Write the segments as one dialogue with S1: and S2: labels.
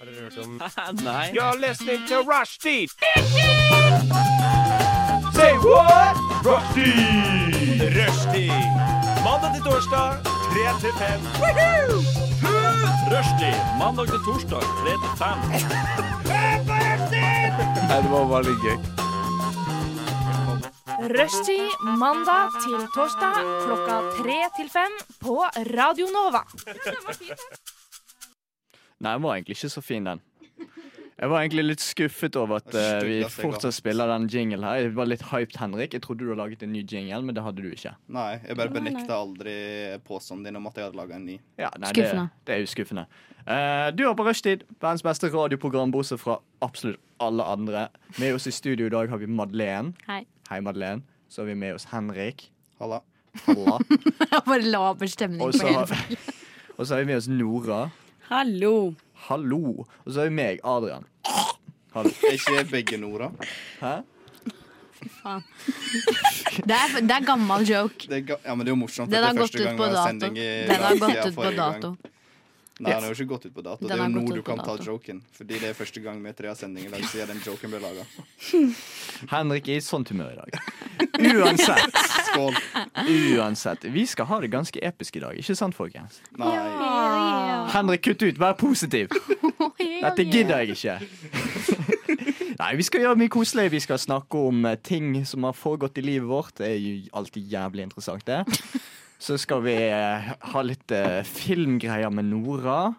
S1: Har dere hørt om
S2: Nei.
S1: You're listening to Rushdie! Say what? Rushdie! Rushdie! Mandag til torsdag, 3 til 5. Rushdie! Mandag til torsdag, 3 til 5.
S2: Nei, det var bare litt gøy.
S3: Rushtid mandag til torsdag klokka tre til fem på Radio Nova.
S2: Nei, den var egentlig ikke så fin, den. Jeg var egentlig litt skuffet over at eh, vi
S4: Styggeste jeg har
S2: fortsatt spiller den jingle her. Jeg var litt hyped, Henrik. Jeg trodde du hadde laget en ny jingle, men det hadde du ikke.
S4: Nei, jeg bare benekta aldri påstanden din om at jeg hadde laga en ny.
S2: Ja, nei,
S5: Skuffende.
S2: Det, det er jo skuffende. Eh, du har på rushtid verdens beste radioprogram, bortsett fra absolutt alle andre. Med oss i studio i dag har vi Madeleine.
S5: Hei.
S2: Hei, Madeleine. Så har vi med oss Henrik.
S4: Halla.
S2: Halla.
S5: Bare laber stemning
S2: Og
S5: på
S2: så
S5: hele
S2: har, og så har vi med oss Nora.
S6: Hallo.
S2: Hallo. Og så har vi meg, Adrian. Hallo.
S4: Er ikke begge Nora?
S2: Hæ?
S5: Det er, det er gammel joke.
S4: Det er ga ja, men det er jo morsomt.
S5: Den
S4: at
S5: har
S4: det er
S5: gått
S4: første
S5: ut
S4: gang
S5: på
S4: vi har
S5: dato.
S4: sending i
S5: Den har
S4: dag
S5: gått
S4: siden
S5: ut på
S4: forrige gang.
S5: dato.
S4: Nei, den har jo ikke gått ut på dato.
S5: Den
S4: Det er
S5: har
S4: jo
S5: gått
S4: nå
S5: ut
S4: du
S5: på
S4: kan ta
S5: dato.
S4: joken. Fordi det er første gang vi tre har sending i dag siden den joken ble laga.
S2: Henrik er i sånt humør i dag. Uansett.
S4: Skål.
S2: Uansett. Vi skal ha det ganske episk i dag, ikke sant, folkens?
S4: Nei.
S2: Henrik, kutt ut! Vær positiv! Dette gidder jeg ikke. Nei, vi skal gjøre mye koselig. Vi skal snakke om eh, ting som har foregått i livet vårt. Det er jo alltid jævlig interessant, det. Så skal vi eh, ha litt eh, filmgreier med Nora.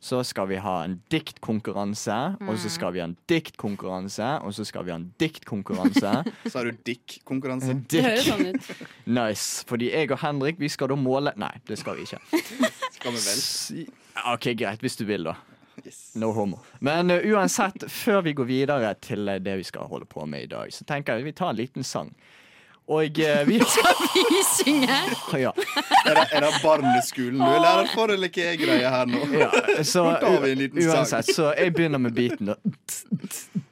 S2: Så skal vi ha en diktkonkurranse, og
S6: Mm.
S2: så skal vi ha en diktkonkurranse, og så skal vi ha en diktkonkurranse.
S4: Så har du dick-konkurranse.
S6: Det høres sånn ut.
S2: Nice. Fordi jeg og Henrik, vi skal da måle Nei, det skal vi ikke.
S4: Skal vi vel?
S2: Si- OK, greit. Hvis du vil, da.
S4: Yes.
S2: No homo. Men eh, uansett, før vi går videre til eh, det vi skal holde på med i dag, så tenker jeg vi tar en liten sang. Og eh, vi
S5: Vi synger.
S2: ja,
S4: Er det, er det barneskolen du er lærer for, eller hva er greia her nå?
S2: ja, så
S4: Nå tar vi en liten sang.
S2: uansett, så jeg begynner med beaten, da.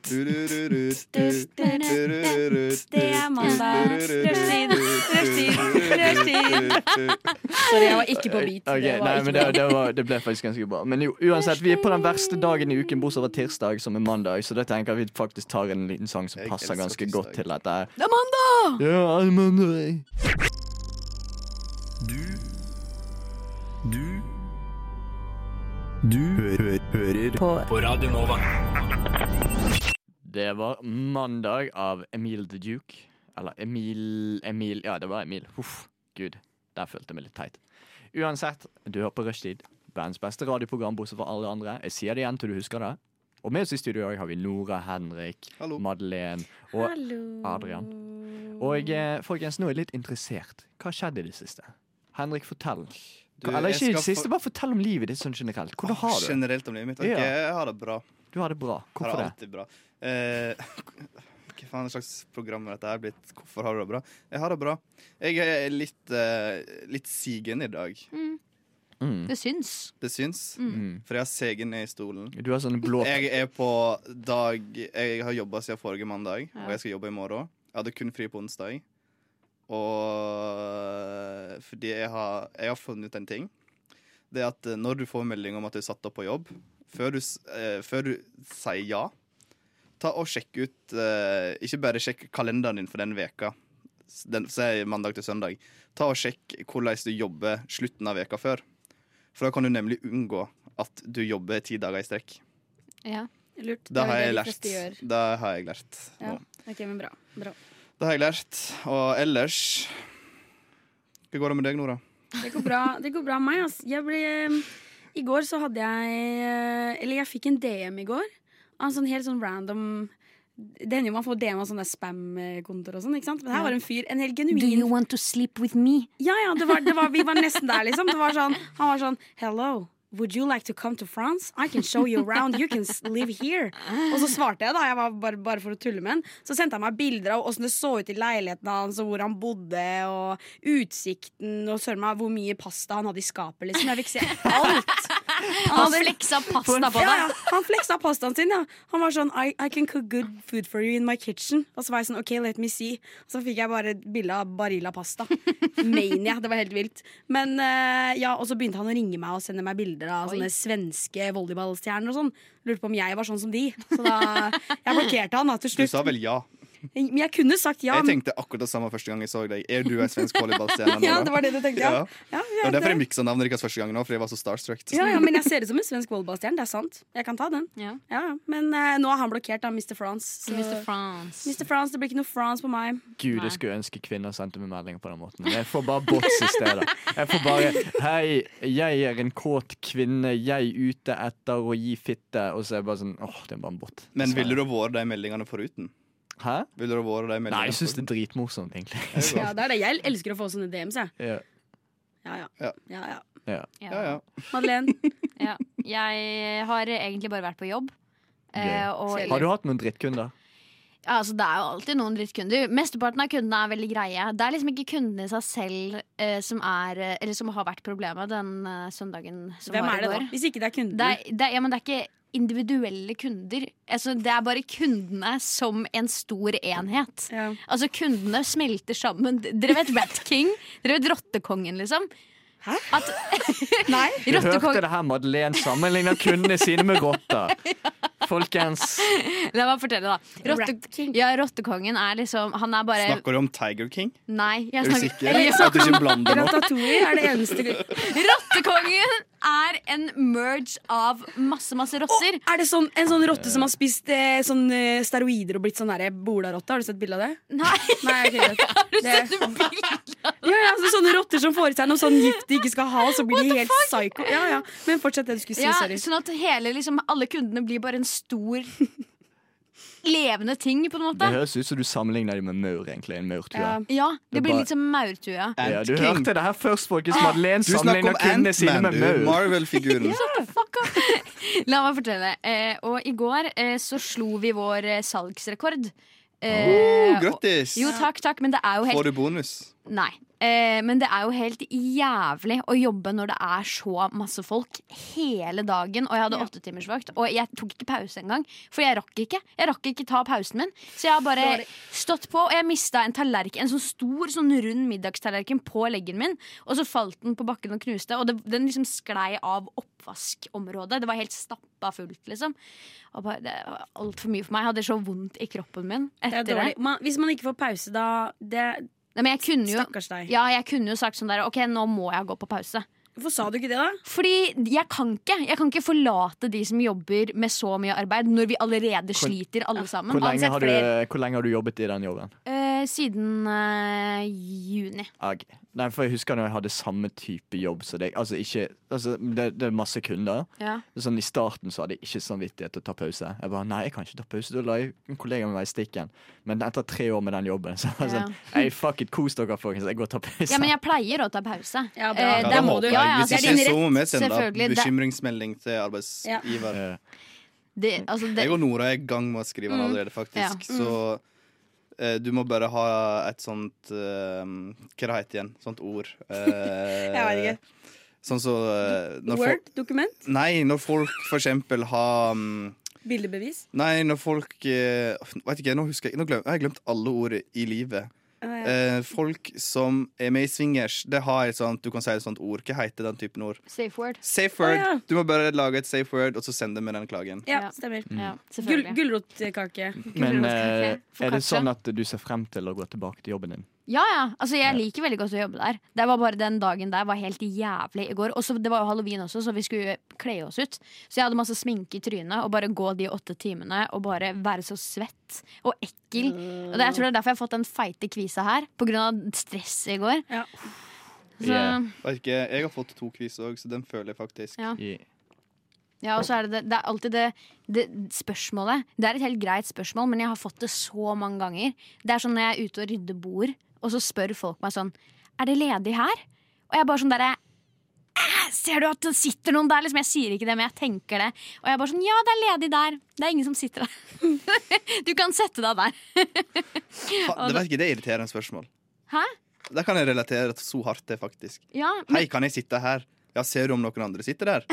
S4: Du-du-du-du-du,
S6: Det er mandag. Rushtid. Rushtid. Rushtid.
S4: du-du-du-du-du.
S6: Sorry, jeg var ikke på beat.
S2: Ok,
S6: Det var
S2: nei,
S6: ikke
S2: men det, det, var, det ble faktisk ganske bra. Men jo, uansett, vi er på den verste dagen i uken, bortsett fra tirsdag, som er mandag, så da tenker jeg vi faktisk tar en liten sang som
S4: Jeg
S2: passer
S4: elsker
S2: ganske
S4: tirsdag.
S2: godt til dette. her.
S5: Det er mandag!
S2: Ja, eh, det er mandag.
S7: Du Du Du hø hø hører på. Radio Nova.
S2: Det var mandag av Emil the Duke. Eller Emil Emil Ja, det var Emil. Huff. Gud, der følte jeg meg litt teit. Uansett, du hører på Rushtid. Verdens beste radioprogram bortsett fra alle andre. Jeg sier det igjen til du husker det. Og med oss i studio i dag har vi Nora, Henrik,
S4: Hallo.
S2: Madeleine og Adrian. Og eh, folkens, nå er jeg litt interessert. Hva skjedde i det siste? Henrik, fortell.
S4: Du,
S2: Eller
S4: jeg
S2: ikke i det
S4: skal
S2: siste,
S4: for-
S2: bare fortell om livet ditt sånn generelt. Hvordan har du det?
S4: Generelt om livet mitt. Ok,
S2: Ja.
S4: Jeg har det bra.
S2: Du har det bra.
S4: Har
S2: Hvorfor
S4: det
S2: det?
S4: alltid bra. Eh, hva faen slags program er dette her blitt? Hvorfor har du det bra? Jeg har det bra. Jeg er litt, eh, litt sigen i dag.
S2: Mm.
S5: Det syns.
S4: Det syns.
S2: Mm.
S4: For jeg har segen ned i stolen.
S2: Du har sånne blå
S4: Jeg er på dag Jeg har jobba siden forrige mandag, og jeg skal jobbe i morgen. Jeg hadde kun fri på onsdag. Og fordi jeg har, jeg har funnet ut en ting. Det er at eh, når du får melding om at du er satt opp på jobb, før du, s- eh, før du sier ja, ta og sjekk ut eh, Ikke bare sjekk kalenderen din for den veka, s- den, si mandag til søndag. Ta og sjekk hvordan du jobber slutten av veka før. For da kan du nemlig unngå at du jobber ti dager i strekk.
S5: Ja.
S6: Lurt.
S4: Det har
S6: er
S4: jeg
S6: vel
S4: lært.
S6: de fleste gjør.
S4: Det har jeg lært nå.
S6: Ja. Ok, men bra. bra.
S4: Det har jeg lært. Og ellers Hva går det med deg, Nora?
S6: Det går bra Det går bra med meg, ass. Jeg ble I går så hadde jeg eh, Eller jeg fikk en DM i går av en sånn helt sånn random Det hender jo man får DM av sånne spam-kontoer og sånn, ikke sant? Men her var en fyr, en helt genuin
S5: Do you want to sleep with me?
S6: Ja, ja, det var, det var, vi var nesten der, liksom. Det var sånn, han var sånn Hello, would you like to come to France? I can show you around. You can s- live here. Og så svarte jeg, da. Jeg var bare, bare for å tulle med han. Så sendte han meg bilder av åssen det så ut i leiligheten hans, og hvor han bodde, og utsikten, og søren meg hvor mye pasta han hadde i skapet, liksom. Jeg fikk se alt.
S5: Han fleksa pasta på
S6: Ja,
S5: deg.
S6: ja. Han fleksa pastaen sin. Ja. Han var sånn I, I can cook good food for you in my kitchen. Og så var jeg sånn OK, let me see. Og så fikk jeg bare et bilde av Barilla pasta. Mania. Det var helt vilt. Men eh, ja, Og så begynte han å ringe meg og sende meg bilder av
S5: Oi.
S6: sånne svenske volleyballstjerner og sånn. Lurte på om jeg var sånn som de. Så da Jeg blokkerte han da til
S4: Du
S6: slutt.
S4: sa vel ja?
S6: Men jeg kunne sagt ja.
S4: Jeg tenkte akkurat det samme første gang jeg så deg. Er du en svensk volleyballstjerne?
S6: men- ja, det var det du tenkte, ja.
S4: Ja.
S6: ja,
S4: Det
S6: ja,
S4: var derfor jeg
S6: det-
S4: miksa navnet deres første gang nå, fordi jeg var så starstruck.
S6: ja, ja, men jeg ser ut som en svensk volleyballstjerne. Det er sant. Jeg kan ta den.
S5: Ja.
S6: Ja, ja. Men eh, nå har han blokkert av Mr. France. så-
S5: Mr. France.
S6: Mr. France, det blir ikke noe France på meg.
S2: Gud,
S5: Nei.
S2: jeg skulle ønske kvinner sendte meg meldinger på den måten. Jeg får bare bots i stedet. Jeg får bare 'Hei, jeg er en kåt kvinne. Jeg ute etter å gi fitte.' Og så er jeg bare sånn åh, det er bare en bot.
S4: Men ville du ha vært de meldingene foruten?
S2: Hæ?
S4: Ville du ha vært de meldingene
S2: Nei, jeg syns det er
S4: foruten?
S2: dritmorsomt, egentlig.
S6: Ja, det er det. Jeg elsker å få sånne DMs, jeg.
S2: Ja,
S6: Ja, ja.
S4: Ja.
S6: ja, ja.
S2: ja.
S4: Ja, ja.
S6: Madeleine.
S5: Ja. Jeg har egentlig bare vært på jobb. Eh,
S2: Gøy.
S5: og,
S2: Har du hatt noen drittkunder?
S5: Ja, altså, det er jo alltid noen drittkunder. Mesteparten av kundene er veldig greie. Det er liksom ikke kundene i seg selv eh, som, er, eh, eller som har vært problemet den eh, søndagen som
S6: Hvem
S5: var
S6: er
S5: i
S6: det, da?
S5: går.
S6: Hvis ikke det er kunden.
S5: Det er, det, er, ja, men det er ikke individuelle kunder. Altså, det er bare kundene som en stor enhet.
S6: Ja.
S5: Altså, kundene smelter sammen. D- Dere vet Rat King? Dere vet Rottekongen, liksom?
S6: Hæ?
S5: At,
S6: Nei?
S2: Du hørte
S5: Rottekong-
S2: det her, Madeleine sammenligner kundene sine med rotter. Folkens.
S5: La meg fortelle, da. Rotte,
S6: Rat King.
S5: ja, Rottekongen er liksom Han er bare
S4: Snakker du om Tiger King?
S5: Nei.
S4: Er
S5: Jeg
S4: du
S5: snakker,
S4: sikker? At du ikke blander dem opp?
S6: Ratatouille er det eneste
S5: Rottekongen er en merge av masse, masse rosser.
S6: Er det sånn, en sånn rotte som har spist eh, sånn, eh, steroider og blitt sånn derre bolarotte? Har du sett bilde av det?
S5: Nei,
S6: Nei, ok, greit.
S5: har du
S6: Det-
S5: sett noe bilde?
S6: Ja, ja, så sånne rotter som får i seg noe sånn gift de ikke skal ha, og så blir de helt psycho. Ja, ja. Men fortsett det du skulle si.
S5: Ja,
S6: Sorry.
S5: sånn at hele, liksom, alle kundene blir bare en stor levende ting, på en
S2: Det
S5: måte.
S2: høres ut som du sammenligner dem med maur, egentlig. En maurtue.
S6: Ja.
S5: Ja,
S2: Det er
S5: det blir
S2: bare-
S5: litt som maurtue.
S2: Ja,
S4: Ant
S2: du
S4: King.
S2: hørte det her først, folkens. Madeleine
S4: Du snakker
S2: sammenligner
S4: om
S2: kundene sine
S4: Ant-Man,
S2: med
S4: du.
S2: maur.
S4: Marvel-figuren.
S5: Fuck off. La meg fortelle. Eh, og i går eh, så slo vi vår eh, salgsrekord. Eh,
S4: Oh, Grattis!
S5: og- Jo, takk, takk, men det er jo helt
S4: Får du bonus?
S5: Nei. Eh, men det er jo helt jævlig å jobbe når det er så masse folk hele dagen. Og jeg hadde åttetimersvakt, og jeg tok ikke pause engang. For jeg rakk ikke Jeg rakk ikke ta pausen min. Så jeg har bare stått på, og jeg mista en tallerken En sånn stor, sånn rund middagstallerken på leggen min. Og så falt den på bakken og knuste, og det, den liksom sklei av oppvaskområdet. Det var helt stappa fullt, liksom. Og bare, det var altfor mye for meg. Jeg hadde så vondt i kroppen min
S6: Det
S5: etter
S6: er
S5: det.
S6: dårlig. Man, hvis man ikke får pause, da det,
S5: Nei, men jeg kunne jo
S6: Stakkars deg.
S5: ja, jeg kunne jo sagt sånn der Ok, nå må jeg gå på pause.
S6: Hvorfor sa du ikke det, da?
S5: Fordi jeg kan ikke Jeg kan ikke forlate de som jobber med så mye arbeid, når vi allerede sliter alle sammen.
S2: Hvor lenge,
S5: Ansett
S2: har du,
S5: flere.
S2: hvor lenge har du jobbet i den jobben?
S5: Eh, siden eh, juni.
S2: Ok. Nei, for Jeg husker når jeg hadde samme type jobb som deg. Altså, ikke, altså, det, det er masse kunder.
S5: Ja.
S2: Sånn, I starten så hadde jeg ikke samvittighet til å ta pause. Jeg bare, nei, jeg kan ikke ta pause, Da lar jeg en kollega med meg i stikken. Men etter tre år med den jobben, så var jeg sånn Ei, fuck it, kos dere, folkens. Jeg går og tar pause.
S5: men jeg pleier å ta pause.
S6: Ja, bra.
S5: Eh,
S6: Ja,
S5: det
S6: da
S5: er-
S6: må du.
S5: Ja, ja,
S4: Hvis
S5: det er
S4: ikke
S5: din
S4: så må vi
S5: rett,
S4: sende
S5: selvfølgelig. Det,
S4: bekymringsmelding til arbeidsgiver.
S2: Eh,
S5: det, altså, det, Mm.
S4: Jeg og Nora er i gang med å skrive den allerede,
S5: Ja.
S4: faktisk. Så eh, du må bare ha et sånt eh, Hva det heter det igjen? Sånt ord. Eh,
S6: Jeg
S4: sånn så eh, når folk-
S6: Word, dokument,
S4: Nei, når folk for eksempel har mm,
S6: bildebevis.
S4: Nei, når folk eh, Vet ikke, nå husker jeg Nå glem, jeg har jeg glemt alle ord i livet.
S6: Ja, ja.
S4: Eh, folk som er med i swingers, det har et sånt Du kan si et sånt ord. Hva heter den typen ord?
S5: safe word.
S4: Safe
S6: Å,
S4: word.
S6: ja.
S4: Du må bare lage et safe word, og så sende med den klagen.
S6: ja,
S5: Ja.
S6: stemmer.
S5: Ja,
S6: Gul,
S5: selvfølgelig.
S6: gulrotkake.
S2: men eh,
S5: Gulrotkake.
S2: er det
S5: Focaccia.
S2: sånn at du ser frem til å gå tilbake til jobben din?
S5: Ja, ja. Altså, jeg liker veldig godt å jobbe der. Det var bare Den dagen der var helt jævlig i går. Og så- det var jo halloween også, så vi skulle kle oss ut. Så jeg hadde masse sminke i trynet og bare gå de åtte timene og bare være så svett og ekkel.
S6: Mm.
S5: Og det, jeg tror det er derfor jeg har fått den feite kvisa her, på grunn av stress i går.
S6: Ja.
S2: Yeah.
S5: Så,
S4: Vet ikke, jeg har fått to kviser òg, så den føler jeg faktisk.
S5: Ja.
S2: I,
S5: ja, og så er det det, det er alltid det, det spørsmålet. Det er et helt greit spørsmål, men jeg har fått det så mange ganger. Det er sånn når jeg er ute og rydder bord, og så spør folk meg sånn Er det ledig her? Og jeg er bare sånn derre Ser du at det sitter noen der? Liksom, jeg sier ikke det, men jeg tenker det. Og jeg er bare sånn, ja, det er ledig der. Det er ingen som sitter der. du kan sette deg der.
S4: Fa- Det, vet ikke, det er irriterende spørsmål.
S5: Hæ?
S4: Det kan jeg relatere så hardt til, faktisk.
S5: Ja, men,
S4: Hei, kan jeg sitte her? Ja, ser du om noen andre sitter der?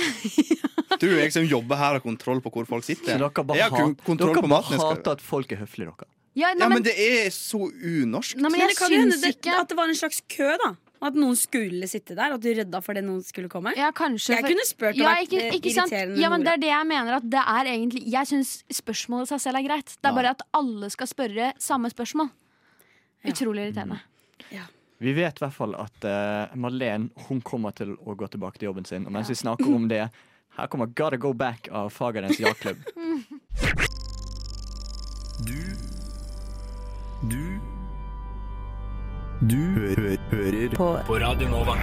S4: Du, jeg som jobber her, har kontroll på hvor folk
S2: Så
S4: sitter.
S2: dere bare,
S4: jeg har kun
S2: hat,
S4: kontroll
S2: dere
S4: på
S2: bare
S4: maten. Jeg skal...
S2: hater at folk er høflige, dere.
S5: Ja, nei,
S4: Ja,
S5: men,
S4: men det er så unorsk.
S5: nei, men
S6: Men
S5: jeg
S6: det kan jo hende
S5: syns
S6: det,
S5: ikke
S6: at det var en slags kø, da. Og At noen skulle sitte der, og at du redda for det noen skulle komme.
S5: ja, kanskje,
S6: Jeg
S5: for-
S6: kunne spurt og
S5: ja,
S6: vært
S5: ikke,
S6: eh,
S5: ikke sant?
S6: irriterende.
S5: Ja, men det
S6: Nora.
S5: er det jeg mener. At det er egentlig, jeg syns spørsmålet i seg selv er greit. Det er bare at alle skal spørre samme spørsmål.
S6: Ja.
S5: Utrolig
S2: Mm.
S5: irriterende.
S2: Vi vet i hvert fall at uh, Madeleine hun kommer til å gå tilbake til jobben sin. Og mens vi snakker om det, her kommer Gotta Go Back av Fagernes jaktklubb.
S7: Du Du Du hø hø hører på. på Radio Nova.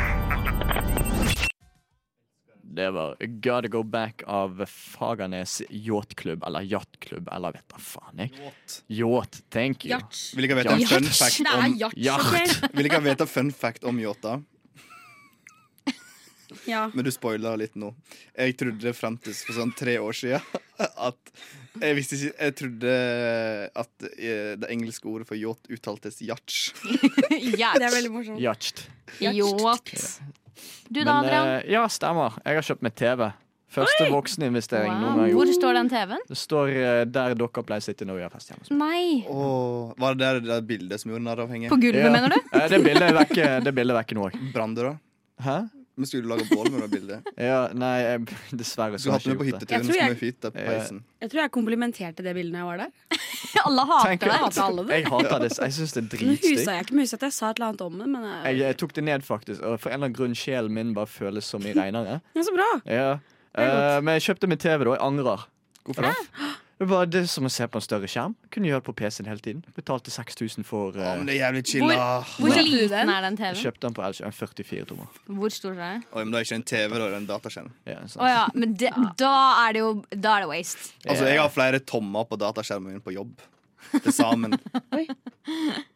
S2: Det var Gotta Go Back av Fagernes yachtklubb, eller yachtklubb, eller vet da faen jeg.
S4: Yacht.
S2: Yacht, thank you.
S6: Yacht.
S4: Vil ikke vite en
S2: Yacht.
S4: fun fact
S6: Det er
S4: om
S6: yacht.
S2: Yacht.
S6: ok?
S4: Vil ikke vite fun fact om yachter,
S6: Ja.
S4: men du spoila litt nå. Jeg trodde frem til for sånn tre år siden at Jeg visste ikke Jeg trodde at eh, det engelske ordet for yacht uttaltes yacht.
S6: Det er veldig morsomt.
S2: Yacht.
S5: Yacht. Du da,
S2: Men,
S5: Adrian?
S2: eh, ja, stemmer. Jeg har kjøpt meg TV. Første vokseninvestering noen gang.
S5: Wow. Hvor står den TV-en?
S2: Det står eh, der dere pleier å sitte når vi har fest hjemme.
S5: Nei.
S4: Åh, var det der det der bildet som gjorde narr av
S5: På
S4: henge?
S5: gulvet,
S2: Ja.
S5: mener du?
S2: Eh, det bildet er vekke, det bildet er vekke nå òg.
S4: Brann det, da?
S2: Hæ?
S4: Men skulle du lage bål med det bildet?
S2: Ja, nei, jeg, dessverre
S4: Du
S2: så har
S4: hadde
S2: jeg
S4: med på
S2: ikke gjort det.
S6: Jeg
S4: hytteturen
S6: tror
S4: som
S6: jeg-
S4: er fyrt på
S2: Ja.
S4: peisen.
S6: Jeg tror jeg komplimenterte det bildet når jeg var der.
S5: Alle hater
S2: Tenker
S5: deg.
S2: at- Jeg hater det. Jeg syns det er
S6: Nå
S2: dritstygt.
S6: husa jeg ikke huset at jeg sa et eller annet om det, men
S2: Jeg,
S6: eh,
S2: jeg tok det ned, faktisk. Og for en eller annen grunn sjelen min bare føles så mye reinere.
S6: ja, så bra.
S2: Ja.
S6: Det er godt.
S2: Eh, men jeg kjøpte meg TV, da. Jeg angrer.
S4: Hvorfor det?
S2: Det var det som å se på en større skjerm. Kunne gjøre det på PC-en hele tiden. Betalte 6000 for eh,
S4: Å, men det er jævlig chilla.
S5: Hvor
S6: Hvor-
S5: liten er den TV-en?
S2: Kjøpte den på Elkjøp. En 44 tommer.
S5: Hvor stor er den?
S4: Oi, men det er ikke en TV, da, det er en dataskjerm.
S2: Ja, sånn. sant.
S5: Å ja, men det, da er det jo Da er det waste.
S4: Altså, jeg har flere tommer på dataskjermen min på jobb. Til sammen.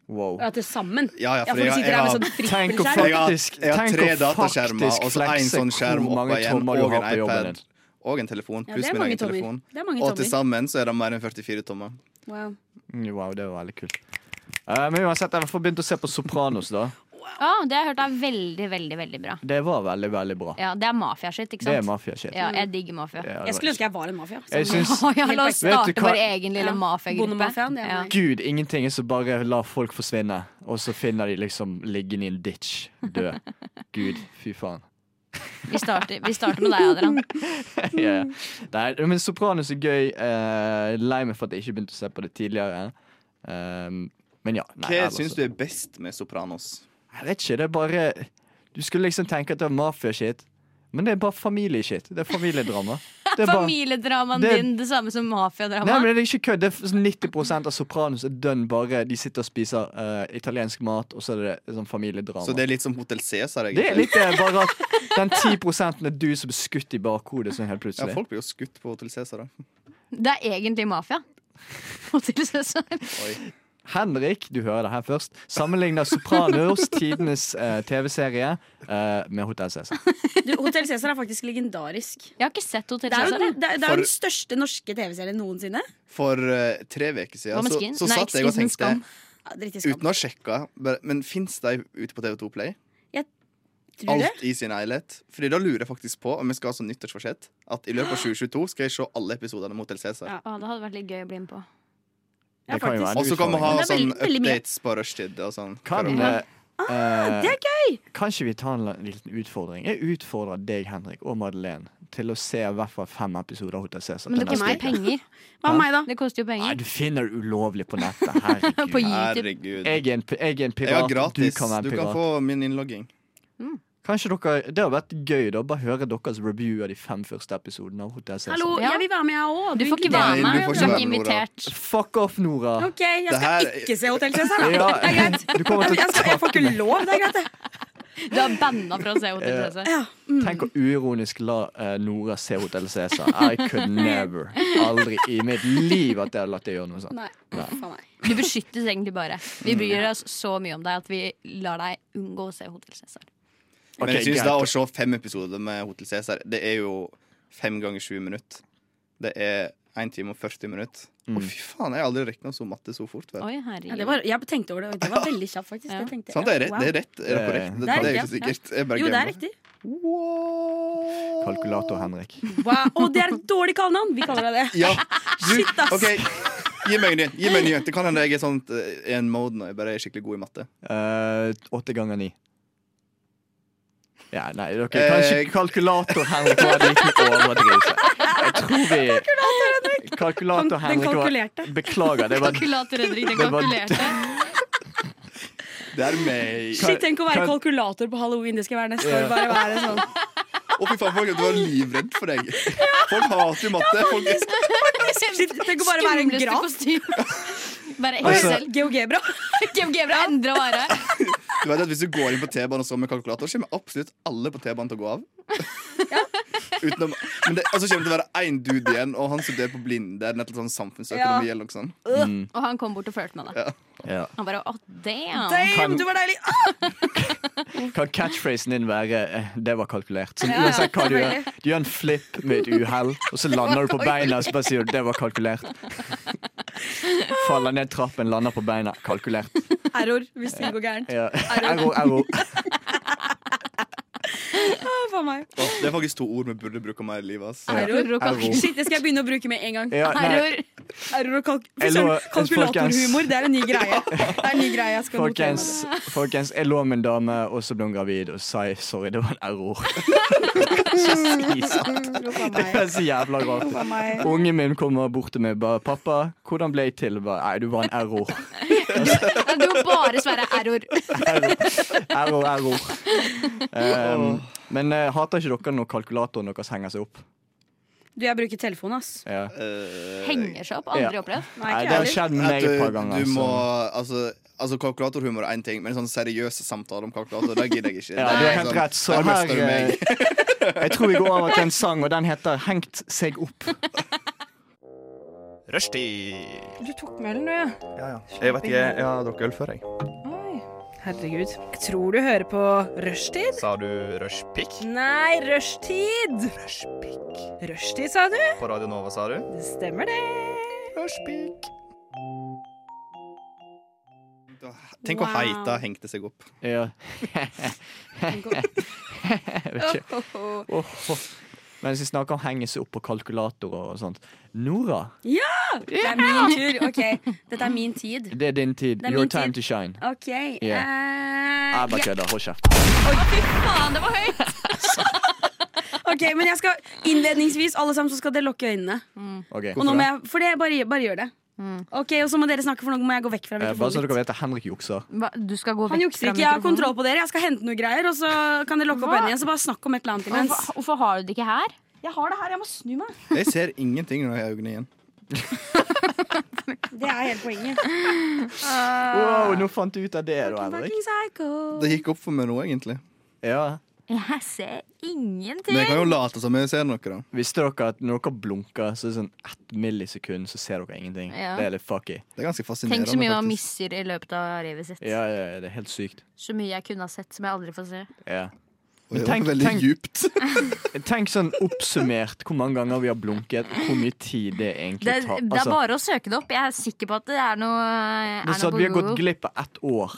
S2: Wow.
S6: Ja, til sammen.
S4: Ja, ja,
S6: Ja,
S4: for
S6: for du
S4: jeg,
S6: sitter
S4: jeg
S6: her med
S4: har
S6: sånn
S2: Tenk å
S6: frippelskjerm.
S4: Jeg har-
S2: faktisk
S4: jeg har
S2: tenk
S4: tre
S2: å
S4: dataskjermer,
S2: faktisk
S4: og så en
S2: flekse
S4: sånn skjerm
S2: hvor
S4: oppå
S2: mange
S4: igjen,
S2: tommer du
S4: og en
S2: har på jobben
S4: iPad.
S2: din.
S4: og en telefon,
S6: Ja,
S4: pluss
S6: det er
S4: min
S6: mange
S4: egen
S6: tommer.
S4: telefon.
S6: Det er mange
S4: Og til
S6: tommer.
S4: sammen så er det mer enn 44 tommer.
S6: Wow.
S2: Mm, Wow, det var veldig kult. Eh, men uansett, jeg har fått begynt å se på Sopranos, da.
S5: Å, det har jeg hørt er veldig, veldig veldig bra.
S2: Det var veldig, veldig bra.
S5: Ja, Det er mafia-shit, ikke
S2: Det er
S5: sant?
S2: mafia-shit.
S5: Ja, jeg digger mafia.
S2: Ja, det
S6: Jeg
S2: var-
S6: skulle ønske jeg var en mafia.
S2: Jeg syns
S5: Å, ja, la oss
S2: Vet du
S5: starte
S2: hva?
S5: vår egen lille
S6: Ja.
S5: mafiagruppe.
S6: Bondemafiaen, det er meg.
S2: Gud, ingenting er så bare la folk forsvinne, og så finner de liksom liggende i en ditch, død. Gud, fy faen.
S5: Vi starter, vi starter med deg, Adrian.
S2: Ja. Nei, men Sopranos er gøy. Eh, lei meg for at jeg ikke begynte å se på det tidligere. Um, men ja. Nei,
S4: Hva
S2: ellers-
S4: syns du er best med Sopranos?
S2: Jeg vet ikke, det er bare Du skulle liksom tenke at det var mafia-shit, men det er bare familie-shit. Det er familiedrama. Det er bare,
S5: Familiedramaen
S2: Det-
S5: din, det samme som
S2: Nei,
S5: mafiadramaen.
S2: men det er ikke kødd. Det er sånn 90 av Sopranos er dønn bare de sitter og spiser eh, italiensk mat, og så er det sånn familiedrama.
S4: Så det er litt som Hotell Cæsar,
S2: Det er
S4: egentlig.
S2: litt det, bare at den 10 er du som er skutt i bakhodet sånn helt
S4: Ja,
S2: plutselig.
S4: folk blir jo skutt på Hotell Cæsar, da.
S5: Det er egentlig mafia. Hotell Cæsar.
S4: Oi.
S2: Henrik, du hører det her først, sammenligner Sopranos, tidenes eh, TV-serie, eh, med Hotell Cæsar.
S6: Du, Hotell Cæsar er faktisk legendarisk.
S5: Jeg har ikke sett Hotell
S6: Det er jo,
S5: Cæsar.
S6: det,
S5: jeg.
S6: det er, det er jo
S4: For-
S6: den største norske TV-serien noensinne.
S4: For eh, tre uker
S5: Hva
S4: siden
S5: med
S4: så,
S5: Skien?
S4: så
S5: Nei,
S4: satt jeg og
S5: Excuse me,
S4: tenkte,
S5: Skam.
S6: Ja, Drit i skam.
S4: uten å sjekke bare- Men fins de ute på TV2 Play?
S6: Tror du?
S4: Alt i sin helhet? Fordi da lurer jeg faktisk på, om jeg skal ha sånn nyttårsforsett, at i løpet av 2022 skal jeg se alle episodene med Hotell Cæsar.
S6: Ja.
S5: Å, det hadde vært litt gøy å bli med på.
S6: Ja,
S2: Det kan jo
S6: faktisk.
S2: være.
S4: Og så kan vi ha
S6: Men det er
S4: sånn
S6: veldig- veldig mye.
S4: updates på rushtid og sånn.
S2: Kan,
S4: For å-
S2: eh, eh,
S6: Ah, det er
S2: Kan ikke vi ta en la- liten utfordring? Jeg utfordrer deg, Henrik og Madeleine, til å se i hvert fall fem episoder av Hotell Cæsar.
S5: Men det
S2: til neste
S5: koster jo
S2: uke.
S5: penger.
S6: Hva med meg, da?
S5: Det koster jo
S2: Nei,
S5: penger.
S2: du finner det ulovlig på nettet.
S5: På
S2: Herregud.
S5: YouTube.
S4: Herregud.
S2: Jeg er en, pi- jeg er en
S4: Jeg har
S2: pirat.
S4: gratis.
S2: Du kan være en
S4: Du kan
S2: pirat.
S4: få min innlogging.
S2: Kanskje dere, Det hadde vært gøy da, bare høre deres review av de fem første episodene av Hotell Cæsar.
S6: Hallo,
S5: Ja.
S6: jeg vil være med, jeg òg.
S5: Du får ikke
S4: Nei,
S5: være
S4: du
S5: med.
S4: får
S5: Du
S4: ikke
S5: er
S4: være
S5: ikke
S4: med, Nora.
S5: invitert.
S2: Fuck off, Nora!
S6: OK, jeg
S4: Det
S6: skal
S4: her-
S6: ikke se Hotell Cæsar. da.
S2: Ja,
S6: Det er greit.
S2: du kommer til
S6: Jeg, skal,
S2: å
S6: jeg får ikke lov. Det er greit, det.
S5: Du er banna fra å se Hotell
S2: Ja.
S5: Cæsar.
S2: Tenk å uironisk la eh, Nora se Hotell Cæsar. I could never. Aldri i mitt liv at jeg hadde latt deg gjøre noe sånt.
S6: Nei.
S2: Nei.
S6: Faen, nei.
S5: Du beskyttes egentlig bare. Vi bryr oss så mye om deg at vi lar deg unngå å se Hotell Cæsar.
S2: Ok,
S4: Men jeg
S2: greit.
S4: syns da å se fem episoder med Hotell Cæsar, det er jo fem ganger sju minutter. Det er 1 time og 40 minutter.
S2: Mm.
S4: Å, fy faen, jeg har aldri regna så matte så fort. Vet. du.
S5: Oi,
S6: Ja,
S5: herregud.
S6: det var, jeg tenkte over det, og det var veldig kjapt, faktisk.
S5: Ja.
S6: Det tenkte jeg.
S4: Sant, det er,
S6: Ja,
S4: rett,
S6: wow.
S4: det er rett. Er det
S2: Eh,
S4: korrekt? Det,
S6: Det er
S4: det er ikke
S6: riktig, ja.
S4: sikkert. Jeg Sånn, bare
S6: Jo, det er
S4: glemmer.
S6: riktig.
S4: Wow.
S2: Kalkulator, Henrik.
S6: Wow. Og det er et dårlig kallenavn! Vi kaller deg det.
S4: Ja.
S6: Shit, ass.
S4: OK, gi meg en ny. Gi meg en ny. Det kan hende jeg er sånn eh, i en mode når jeg bare er skikkelig god i matte.
S2: Eh, Åtte ganger ni. Ja, nei, dere
S4: Eh,
S2: kan ikke kalkulator, Henrik, var en liten overdrivelse. Jeg tror vi Kalkulator,
S6: Han- den
S2: Henrik.
S6: kalkulerte.
S2: Var, beklager, det var
S5: Kalkulator, Henrik. Den
S2: Det var-
S5: kalkulerte.
S4: Det er meg.
S6: Shit, tenk å være
S2: Kan-
S6: kalkulator på halloween. Det skal jeg være neste år. Bare være sånn.
S4: Å, fy faen, folk, du var livredd for deg. Folk hater jo matte. Folk er
S6: Shit, tenk å bare være en
S5: Skumleste
S6: graf.
S5: kostyme. Bare
S2: Altså-
S5: Excel.
S6: GeoGebra.
S5: GeoGebra endra vare.
S4: Du vet at Hvis du går inn på T-banen og står med kalkulator, kommer absolutt alle på T-banen til å gå av. Utenom, men det, og så kommer det til å være én dude igjen, og han studerer på blinde. eller noe sånn samfunnsøkonomi
S6: Ja.
S4: eller noe sånt.
S5: Og han kom bort og flørte med deg.
S2: ja.
S5: Han bare oh, damn.
S6: Damn, du var deilig! Ah,
S2: Kan catchphrasen din være eh, 'det var kalkulert'? Så
S6: Ja,
S2: uansett hva du gjør,
S6: selvfølgelig.
S2: du gjør en flip med et uhell, og så lander du på beina, og så bare sier du 'det var kalkulert'. Faller ned trappen, lander på beina. Kalkulert.
S6: Error, hvis ting går gærent.
S2: Ja. Error, error.
S6: Ah, faen meg.
S4: Og det er faktisk to ord vi burde bruke mer i livet. ass.
S6: Error.
S5: og kalk-
S2: Error.
S6: Shit, det skal jeg begynne å bruke med en gang.
S2: Ja, nei,
S5: Error.
S6: Error og kalk
S2: Jeg
S6: Søren,
S2: lover,
S6: Kalkulatorhumor,
S2: folkens.
S6: det er en ny greie. Det er en ny greie jeg skal notere meg.
S2: folkens, folkens, jeg lå med en dame, og så ble hun gravid, og sa jeg, 'sorry, det var en error'. Jesus.
S6: Mm,
S2: Det
S6: faen meg.
S2: er så jævla rart.
S6: Faen meg.
S2: Ungen min kommer bort til meg bare 'Pappa, hvordan ble jeg til?' Bare, 'Nei, du var en error'.
S5: Nei, Du må bare svære error.
S2: Error, error. error. Ehm, men eh, hater ikke dere når kalkulatoren deres henger seg opp?
S6: Du, jeg bruker telefon, ass.
S2: Ja.
S4: Eh,
S5: Henger seg opp. Aldri opplevd.
S6: Nei,
S2: Nei,
S6: ikke
S2: det har
S6: heller.
S2: skjedd med
S4: At
S2: meg et par
S4: du,
S2: ganger.
S4: du må,
S2: så-
S4: altså, altså Kalkulatorhumor er én ting, men en sånn seriøs samtale om kalkulator, det gidder jeg
S2: Ja, du
S4: ikke. Det
S2: har
S4: er
S2: helt
S4: sånn,
S2: rett. Så
S4: der
S2: her
S4: mister du meg.
S2: eh, Jeg tror vi går over til en sang, og den heter 'Hengt seg opp'.
S1: Rushtid!
S6: Du tok med den, du, ja.
S1: Jeg vet ikke, jeg har drukket øl før, jeg.
S6: Oi. Herregud. Jeg tror du hører på rushtid.
S1: Sa du rushpick?
S6: Nei, rushtid!
S1: Rushpick.
S6: Rushtid, sa du?
S1: På Radio Nova, sa du?
S6: Det stemmer, det.
S1: Rushpick.
S4: Tenk å
S6: Wow.
S4: heita hengte seg opp.
S2: Ja. Jeg vet ikke. Åh, åh. Mens vi snakker om henge seg opp på kalkulatorer og sånt. Nora,
S6: Det er min tur. Ok, dette er min tid.
S2: det er din tid.
S6: er min
S2: Your time
S6: tid.
S2: to shine.
S6: Ok.
S2: Ja.
S6: eh,
S2: Jeg bare
S6: ja.
S2: kødder. Hold kjeft.
S5: Faen, det var høyt!
S6: Ok, men jeg skal innledningsvis, alle sammen, så skal dere lukke øynene.
S2: Ok.
S6: Og nå må jeg, for det, bare, bare gjør det. Ok, Og så må dere snakke, for nå må jeg gå vekk fra
S2: Eh, Bare så
S6: mikrofonen.
S2: dere vet at Henrik jukser.
S5: Hva? Du skal gå
S6: Han
S5: vekk
S6: jukser
S5: fra
S6: ikke, jeg har
S5: mikrofonen.
S6: kontroll på dere. Jeg skal hente noe greier, og så kan dere lukke opp
S5: Hva?
S6: øynene igjen. Så bare snakk om et eller annet
S5: Men
S6: imens.
S5: Hvorfor, hvorfor har du det ikke her?
S6: Jeg har det her, jeg må snu meg.
S4: Jeg ser ingenting når jeg har øynene igjen.
S6: Det er hele poenget.
S2: Wow, nå fant du ut av det, da, Henrik.
S6: Fucking psycho.
S4: Det gikk opp for meg nå, egentlig.
S2: Ja.
S5: Jeg ser ingenting.
S4: Men jeg kan jo late som jeg ser noe, da.
S2: Visste dere at når dere blunker, så er det sånn ett millisekund, så ser dere ingenting.
S5: Ja.
S2: Det er litt fucky.
S4: Det er ganske fascinerende.
S5: Tenk så mye man
S4: faktisk.
S5: misser i løpet av livet sitt.
S2: Ja, ja, ja, det er helt sykt.
S5: Så mye jeg kunne ha sett som jeg aldri får se.
S2: Ja.
S4: Og det
S2: Tenk-
S4: var veldig
S2: tenk-
S4: djupt.
S2: Tenk sånn oppsummert hvor mange ganger vi har blunket, hvor mye tid det
S5: Det,
S2: egentlig tar. Altså,
S5: det er bare å søke det opp. Jeg er sikker på at det er noe, er
S2: det er
S5: noe
S2: sånn at
S5: på
S2: vi har gått
S5: Google.
S2: glipp av ett år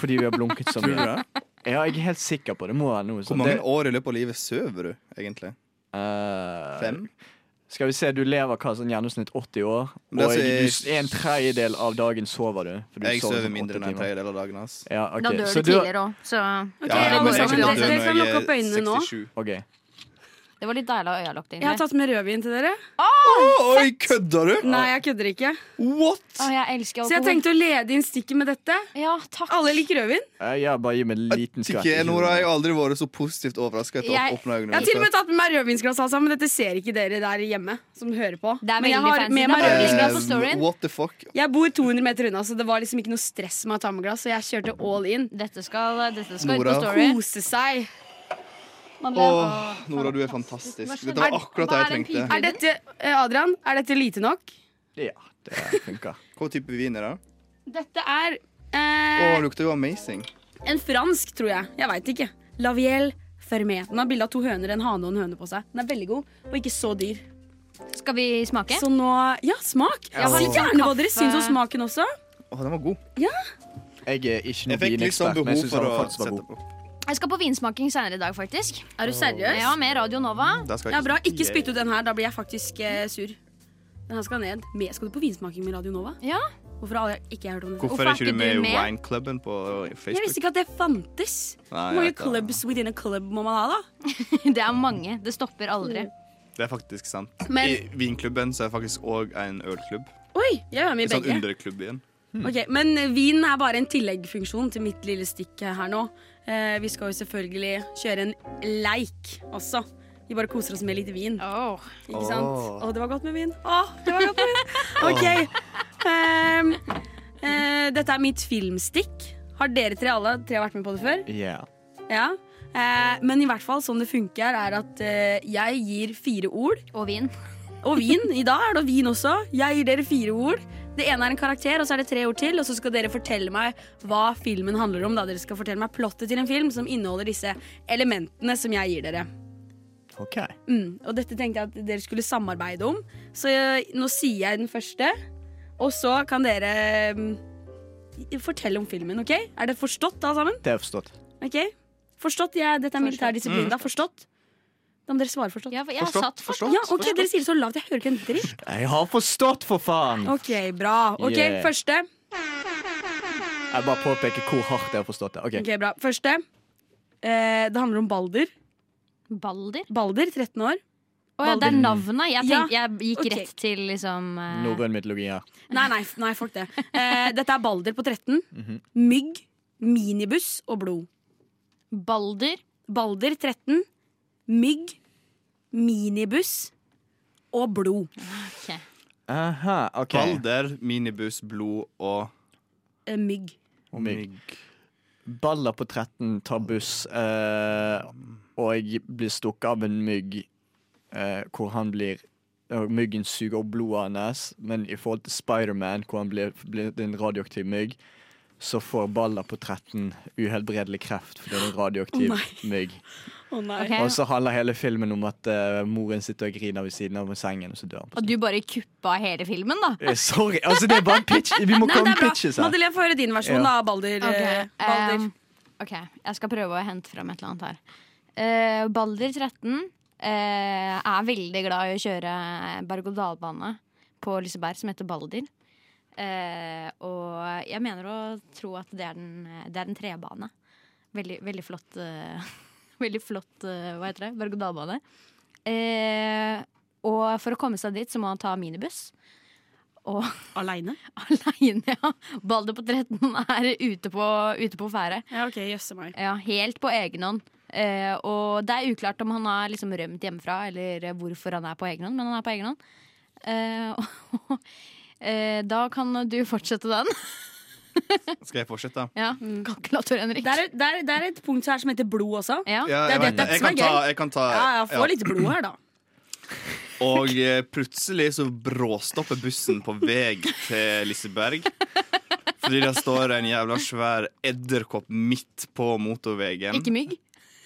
S2: fordi vi har blunket så mye. Ja, jeg er helt sikker på det. Det må være noe
S4: Hvor
S2: sånt.
S4: mange
S2: Det-
S4: år i løpet av livet sover du, egentlig?
S2: Eh,
S4: Fem?
S2: Skal vi se, du lever hva sånn gjennomsnitt 80 år, og
S4: Men altså,
S2: du-
S4: jeg-
S2: en tredjedel av dagen sover du. for du
S4: Jeg sover
S2: sånn
S4: mindre enn
S2: 80
S4: en
S2: timer.
S4: tredjedel av dagen hans.
S2: Ja, ok.
S5: Da dør
S2: Så
S5: du tidligere òg, så
S6: Ok,
S4: Ja, ja,
S6: alle
S4: men jeg
S6: sammen,
S4: kommer til å
S6: dere,
S4: dø
S6: dere
S4: når
S6: kan
S4: jeg
S6: lukke opp
S4: er
S6: øynene nå.
S4: 67.
S2: Ok.
S5: Det var litt deilig å ha øyelokk,
S6: Jeg har
S5: egentlig.
S6: tatt med rødvin til dere.
S4: Oi, kødder du?
S6: Nei, jeg kødder ikke.
S4: What?
S5: Å, jeg elsker
S6: Så jeg
S5: alkohol.
S6: tenkte å lede inn stikket med dette.
S5: Ja, takk.
S6: Alle liker rødvin.
S2: Eh, Ja, bare gi meg en liten skvett.
S4: Ikke, Nora, jeg har aldri vært så positivt overraska etter å
S5: Jeg-
S4: åpne
S6: Jeg
S4: øynene.
S6: har til og med tatt med meg rødvinsglass, altså, men dette ser ikke dere der hjemme. som hører på
S5: Det er
S6: Men
S5: veldig
S6: jeg har
S5: fancy.
S6: med
S5: Det
S6: meg
S5: er
S4: Eh,
S5: veldig
S6: rødvinsglass.
S5: glass og story.
S4: What the fuck?
S6: Jeg bor 200 meter unna, så det var liksom ikke noe stress med å ta med glass. Så jeg kjørte all in.
S5: Dette skal, dette skal ut
S4: Nora.
S5: på story.
S6: Kose seg.
S4: Åh, Nora, du er fantastisk. Dette var akkurat det jeg trengte.
S6: Er dette, eh, Adrian, er dette lite nok?
S2: Ja, det funker.
S4: Hva type vin er det?
S6: Dette er
S4: Å,
S6: eh,
S4: det lukter jo amazing.
S6: en fransk, tror jeg. Jeg veit ikke. Laviel Fermé. Den har bilde av to høner, en hane og en høne på seg. Den er veldig god, og ikke så dyr.
S5: Skal vi smake?
S6: Så nå Ja, smak! Jeg har
S5: har
S6: litt
S5: litt
S6: gjerne hva
S5: kaffe.
S6: dere syns om smaken også.
S4: Å, den var god.
S2: Jeg er ikke
S4: Jeg
S2: noen
S4: fikk litt sånn
S2: vinekspert, men jeg
S4: behov
S2: syns
S4: for
S2: han
S4: å
S2: faktisk var
S4: sette
S2: god.
S4: på.
S5: Jeg skal på vinsmaking senere i dag, faktisk.
S6: Er du seriøs?
S5: Ja, med Radio Nova.
S4: Der skal jeg
S6: Ja,
S4: ikke-
S6: bra. Ikke spytt ut den her, da blir jeg faktisk eh, sur. Den her skal ned. Med, skal du på vinsmaking med Radio Nova?
S5: Ja.
S6: Hvorfor har jeg ikke hørt om det?
S4: Hvorfor
S5: Hvorfor
S4: er ikke du
S5: er ikke
S4: med i
S5: du med?
S4: Wineklubben på
S6: Jeg visste
S4: Facebook?
S6: ikke at det fantes.
S4: Nei,
S6: Hvor mange
S4: jeg vet det.
S6: clubs within a club må man ha, da?
S5: Det er mange. Det stopper aldri.
S4: Det er faktisk sant.
S6: Men-
S4: I vinklubben så er det faktisk òg en ølklubb.
S6: Oi, jeg er med
S4: En
S6: i
S4: sånn
S6: begge.
S4: underklubb igjen.
S6: Ok, Men vin er bare en tilleggsfunksjon til mitt lille stikk her nå. Eh, vi skal jo selvfølgelig kjøre en leik også. Vi bare koser oss med litt vin. Ikke sant? Å, det var godt med vin. Å, det var godt med vin. OK. Ehm, eh, dette er mitt filmstikk. Har dere tre alle tre vært med på det før?
S2: Yeah.
S6: Ja. Eh, men i hvert fall sånn det funker, er at eh, jeg gir fire ord.
S5: Og vin.
S6: Og vin. I dag er det vin også. Jeg gir dere fire ord. Det ene er en karakter, og så er det tre ord til. Og så skal dere fortelle meg hva filmen handler om. Da dere skal fortelle meg plottet til en film som inneholder disse elementene som jeg gir dere.
S2: OK.
S6: Mm. Og dette tenkte jeg at dere skulle samarbeide om. Så eh, nå sier jeg den første, og så kan dere mm, fortelle om filmen, OK? Er det forstått, alle sammen?
S2: Det er forstått.
S6: Ok, Forstått? Jeg, dette er militær disiplin. Da forstått? Da må dere svare forstått.
S5: Ja, for jeg har
S4: Forstått,
S5: satt forstått.
S6: Ja, ok, Dere sier det så lavt. Jeg hører ikke en dritt.
S2: Jeg har forstått, for faen!
S6: Ok, Bra. Ok,
S2: Yeah.
S6: Første.
S2: Jeg bare påpeker hvor hardt jeg har forstått det. OK.
S6: Ok, bra Første. Eh, det handler om Balder.
S5: Balder.
S6: Balder, 13 år.
S5: Å ja, det er navnet. Jeg, tenkte, jeg gikk
S6: Ok.
S5: rett til liksom eh,
S2: Norrøn mytologi her.
S6: Nei, nei, f- nei fuck det. Eh, dette er Balder på 13.
S2: Mhm.
S6: Mygg, minibuss og blod.
S5: Balder.
S6: Balder, 13. Mygg, minibuss og blod.
S2: Aha, OK.
S4: Balder, minibuss, blod og
S6: Eh, mygg.
S2: Mygg. Baller på 13 tar buss eh, og blir stukket av en mygg, eh, hvor han blir og Myggen suger opp blodet hans, men i forhold til Spiderman, hvor han blir, blir en radioaktiv mygg, så får Baller på 13 uhelbredelig kreft fordi han er en radioaktiv
S6: Å,
S2: mygg.
S6: Å nei.
S5: Ok.
S2: Og så handler hele filmen om at eh, moren sitter og griner ved siden av sengen, og så dør han. på
S5: Og du bare kuppa hele filmen, da.
S2: Eh, Sorry. Altså, det er bare en pitch. Vi må
S6: Nei,
S2: komme
S6: det
S2: med
S6: er bra.
S2: pitches her.
S6: Madeleine, få høre din versjon,
S2: Ja.
S6: da. Balder. eh, Balder.
S5: Um, ok, jeg skal prøve å hente fram et eller annet her. Eh, Balder 13 eh, er veldig glad i å kjøre berg-og-dal-bane på Liseberg som heter Balder. Eh, og jeg mener å tro at det er en, det er en trebane. Veldig, veldig flott eh, Veldig flott, eh, hva heter det, berg-og-dal-bane. Eh, og for å komme seg dit, så må han ta minibuss. Og
S6: Aleine?
S5: aleine, ja. Balder på 13 er ute på, ute på ferde.
S6: Ja, OK, jøsse meg.
S5: Ja, helt på egen hånd. Eh, og det er uklart om han har liksom rømt hjemmefra, eller hvorfor han er på egen hånd, men han er på egen hånd. Eh, og eh, da kan du fortsette den.
S4: Skal jeg fortsette?
S5: Ja, Kalkulator, Henrik.
S6: Mm. Det er, det, er, det er et punkt her som heter blod også.
S5: ja.
S4: Ja,
S6: Det er
S4: jeg, vet
S6: dette
S4: det. jeg
S6: som er
S4: kan ta,
S6: gøy.
S4: jeg kan ta
S6: Ja, ja, få
S4: ja.
S6: litt blod her, da.
S4: Og eh, plutselig så bråstopper bussen på vei til Liseberg. Fordi det står en jævla svær edderkopp midt på motorveien.
S5: Ikke mygg.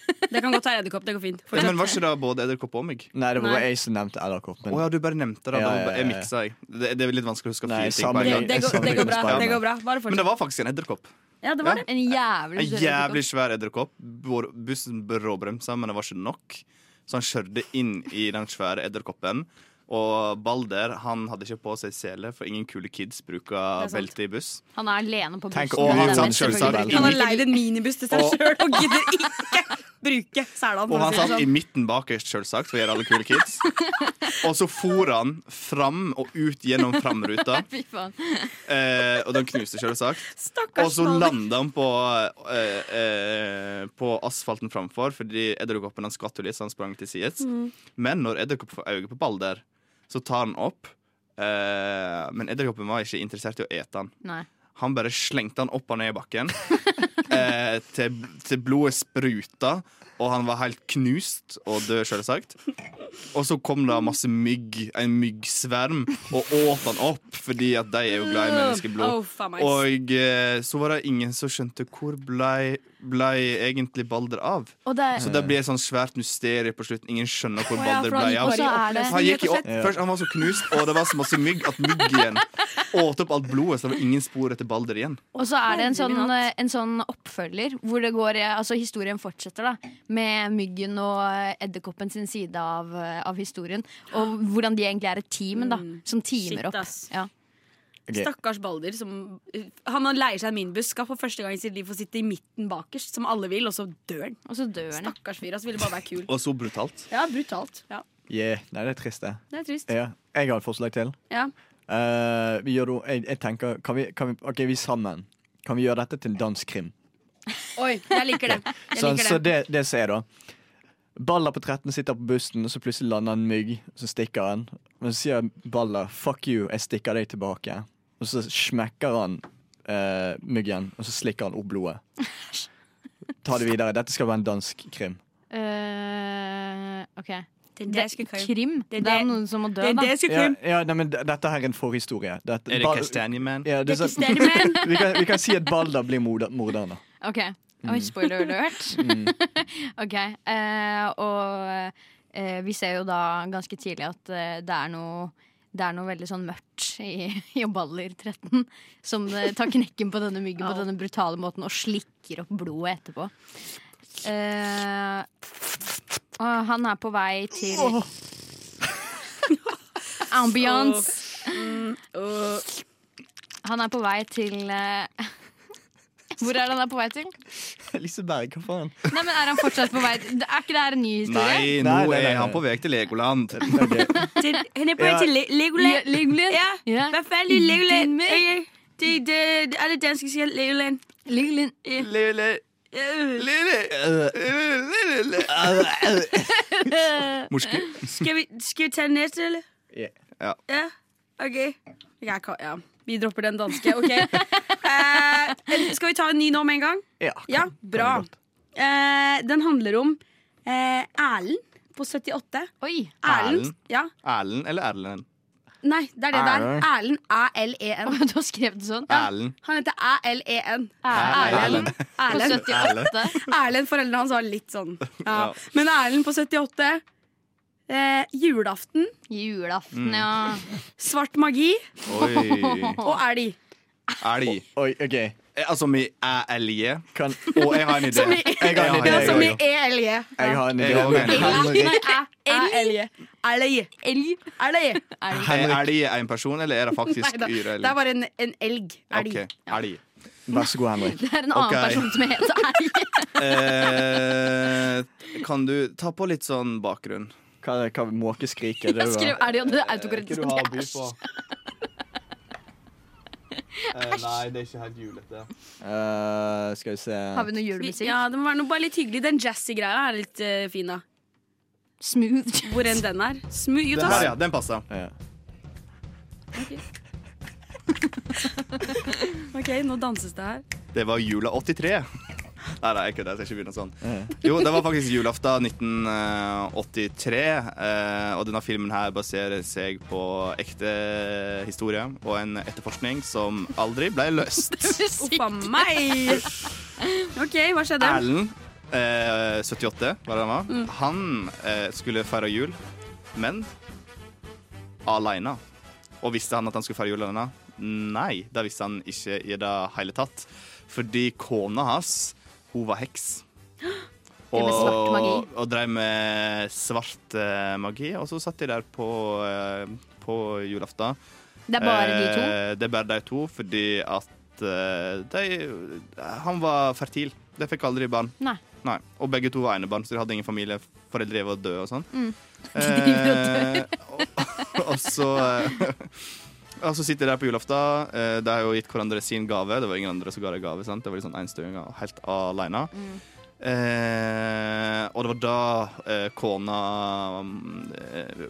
S6: Det kan godt være edderkopp. Det går fint.
S4: Ja,
S6: Fortsett.
S4: men var ikke det både edderkopp og mygg?
S2: Nei, det var
S6: Nei.
S2: bare jeg som nevnte
S4: Å
S2: Edderkoppen.
S4: ja, du bare nevnte det.
S2: Ja,
S4: det
S2: ja,
S4: var
S2: ja,
S4: bare- jeg
S2: ja.
S4: miksa, jeg. Det, det er litt vanskelig å huske
S2: Nei,
S4: fire ting
S2: samme
S4: på en
S6: det,
S4: gang.
S6: det, går, det går bra. det går bra Bare
S4: Men det
S6: fortsett.
S4: var faktisk en edderkopp.
S6: Ja, det var det.
S5: En jævlig
S4: En jævlig svær edderkopp. Hvor Bussen bråbremsa, men det var ikke nok. Så han kjørte inn i den svære edderkoppen. Og Balder han hadde ikke på seg sele, for ingen kule kids bruker
S6: Det er sant.
S4: belte i buss.
S5: Han er alene på
S2: Tenk
S5: bussen.
S2: å
S5: Det er
S2: ha
S5: den
S2: tatt
S5: selvfølgelig.
S2: selvsagt.
S6: Han har leid en minibuss til seg
S4: Og-
S6: sjøl og gidder ikke bruke selene.
S4: Og
S6: for å
S4: han
S6: si det
S4: satt i
S6: sånn.
S4: midten bakerst, selvsagt, for å gjøre alle kule kids. Og så for han fram og ut gjennom framruta,
S5: Fy faen.
S4: eh, og den knuste, selvsagt. Og
S6: Stakkars
S4: så
S6: Balder.
S4: landa han på, eh, eh, på asfalten framfor, fordi edderkoppen han skvatt jo litt, så han sprang til sides. Men når edderkoppen får øye på Balder, så tar han opp. Eh, men edderkoppen var ikke interessert i å ete han.
S5: Nei.
S4: Han bare slengte han opp og ned i bakken. eh, til, til blodet spruta, og han var helt knust og død, selvsagt. Og så kom det masse mygg, en myggsverm, og åt han opp, fordi at
S5: Oh
S4: de er jo glad i menneskeblod.
S6: Åh, oh, faen meg.
S4: Og eh, så var det ingen som skjønte hvor blei ble egentlig Balder av?
S5: Og det
S4: Så det blir et sånn svært mysterium på slutten. Ingen skjønner hvor Balder
S5: for han
S4: ble
S5: gikk
S4: av.
S5: bare i oppløsning,
S4: Han gikk i opp,
S2: slett.
S4: først, han var så knust, og det var så masse mygg at myggen åt opp alt blodet. Så det var ingen spor etter Balder igjen.
S5: Og så er det en sånn,
S3: Herregud, natt.
S5: eh, en sånn oppfølger hvor det går, eh, altså historien fortsetter, da. Med myggen og eh, edderkoppen sin side av, eh, av historien. Og hvordan de egentlig er et team, da. Som teamer
S6: Mm. Shit,
S5: opp.
S6: ass.
S5: Ja.
S2: Ok.
S6: Stakkars Balder. Som, han leier seg en minibuss, skal for første gang i sitt liv få sitte i midten bakerst, som alle vil, og så dør han.
S5: Og så dør han.
S6: Stakkars fyr. Altså, ville bare være kul.
S4: Og så brutalt.
S6: Ja, brutalt. Ja,
S2: Yeah. Nei, det er trist, det.
S6: det er trist.
S2: Ja. Jeg har et forslag til.
S6: Ja.
S2: Eh, vi gjør, det- jeg, jeg tenker kan vi, kan vi, OK, vi sammen. Kan vi gjøre dette til en danskrim?
S6: Oi, jeg liker det. Jeg
S2: Så,
S6: liker
S2: så
S6: det.
S2: det, det ser jeg, da. Baller på 13 sitter på bussen, og så plutselig lander en mygg. Så stikker han. Men så sier Baller 'fuck you, jeg stikker deg tilbake'. Og så smekker han eh, myggen, og så slikker han opp blodet. Ta det videre. Dette skal være en dansk krim.
S5: Eh, OK.
S6: Det,
S5: Det er krim. Det
S6: Det er
S5: er
S6: det-
S5: noen som må dø,
S6: Det er
S5: da.
S6: det som
S2: Ja,
S6: krim.
S2: ja nei, men d- Dette her er en forhistorie. Dette,
S4: Er det
S2: Bal-
S4: Castanje Man?
S2: Ja, det er sånn-
S6: Steadyman.
S2: vi, kan, vi kan si at Balder blir morder- morderen. da.
S5: Ok, Oi, spoiler alert. ok, eh, og eh, vi ser jo da ganske tidlig at eh, det er noe det er noe veldig sånn mørkt i, i Baller 13 som eh, tar knekken på denne myggen på denne brutale måten og slikker opp blodet etterpå. Eh, og han er på vei til Ambiance.
S6: Åh.
S5: Han er på vei til eh, Hvor er det han er på vei til?
S2: Liseberg, hva faen?
S5: Nei, men Er han fortsatt på vei Er ikke det her en ny historie?
S4: Nei, nå
S2: Nei, nei, nei,
S4: er han
S2: nei.
S4: på vei til Legoland.
S2: Det er gøy.
S6: Til, hun er på vei
S2: Ja.
S6: til Le-
S5: Ja,
S6: Legoland.
S5: Legoland.
S6: Ja.
S5: Ja.
S6: Hva faen er Legoland?
S5: Dimmer.
S6: Ja, ja. Det, det, det, alle danske sier Legoland.
S5: Legoland.
S4: Lille,
S6: Øh,
S4: lille, lille, lille.
S5: Eh,
S4: Morske.
S6: Skal vi, skal vi ta den neste, eller?
S2: Ja.
S4: Ja.
S6: Ja, ok Jeg kan- ja. Vi dropper den danske, ok Eh, Skal vi ta en ny nå med en gang?
S2: Ja,
S6: Ja, bra Eh, Den handler om eh, Erlend på 78
S5: Oi.
S6: Erlend,
S4: Erlend?
S6: ja
S4: Erlend eller Erlend?
S6: Nei, det er det der
S2: Erlend.
S6: Erlend, A-L-E-N
S5: Du har skrevet det sånn?
S4: Erlend.
S6: Han heter E A-L-E-N
S5: Erlend. På
S6: Erlend
S5: 78.
S6: Erlend, foreldrene hans var litt sånn ja.
S4: Ja.
S6: Men Erlend på 78 eh, Julaften
S4: Mm.
S5: Julaften, ja.
S6: Svart magi
S4: Oi.
S6: og elg
S4: Elg.
S2: Oi, OK.
S4: Eh, Altså med æ-elje.
S2: Kan,
S4: Og jeg har en idé.
S6: Som i-
S2: Jeg har en idé,
S6: Ja, som i E
S2: jeg
S6: E-L-J
S2: jeg har en idé.
S4: Jeg har en idé.
S2: Henrik.
S6: Elg. E
S5: Elg.
S6: Elg. Elg.
S4: Er elg en person, eller er det faktisk
S6: Neida,
S4: yr?
S6: Det er bare en, en elg. Elg.
S4: Ok, elg.
S2: Vær så god, Henrik.
S5: Det er en annen
S4: Ok.
S5: person som heter Erlend.
S4: Eh, kan du ta på litt sånn bakgrunn?
S2: Hva, hva måkeskriket?
S5: Jeg skrev Elg, og det er autokorrekt.
S4: Hva
S5: Det
S4: by på? Eh, nei, det er ikke helt julete.
S2: Eh, skal vi se
S5: er- Har vi noe julemusikk?
S6: Ja, det må være noe bare litt hyggelig. Den jazzy-greia er litt eh, fin, da.
S5: Smooth.
S6: Hvor enn den er. Smooth. Jo,
S4: Den,
S6: ta-
S4: her, ja, den passer.
S2: Ja.
S6: OK, nå danses det her.
S4: Det var jula 83. Nei, nei, jeg kødder. Jeg skal ikke begynne sånn. Jo, det var faktisk julaften 1983. eh, Og denne filmen her baserer seg på ekte historie og en etterforskning som aldri ble løst.
S5: Musikk.
S6: Uff a meg. OK, hva skjedde?
S4: Erlend, eh, 78, var det han var,
S5: Mm.
S4: han eh, skulle feire jul, men aleine. Og visste han at han skulle feire jul alene? Nei, det visste han ikke i det hele tatt. Fordi kona hans, hun var heks.
S5: Det med svart magi.
S4: og drev med svart eh, magi. Og så satt de der på, eh, på julaften.
S5: Det er bare de to.
S4: Eh, Det er bare de to, fordi at eh, de, han var fertil. De fikk aldri barn.
S5: Nei.
S4: Og begge to var enebarn, så de hadde ingen familie. Foreldre var døde og sånn. Eh,
S5: driver
S4: og, og så eh, Og så sitter de der på julaften. Eh, De har jo gitt hverandre sin gave. Det var ingen andre som ga deg gave. Sant? Det var litt sånn enstøing og helt aleine. Eh, og det var da eh, kona mm, eh,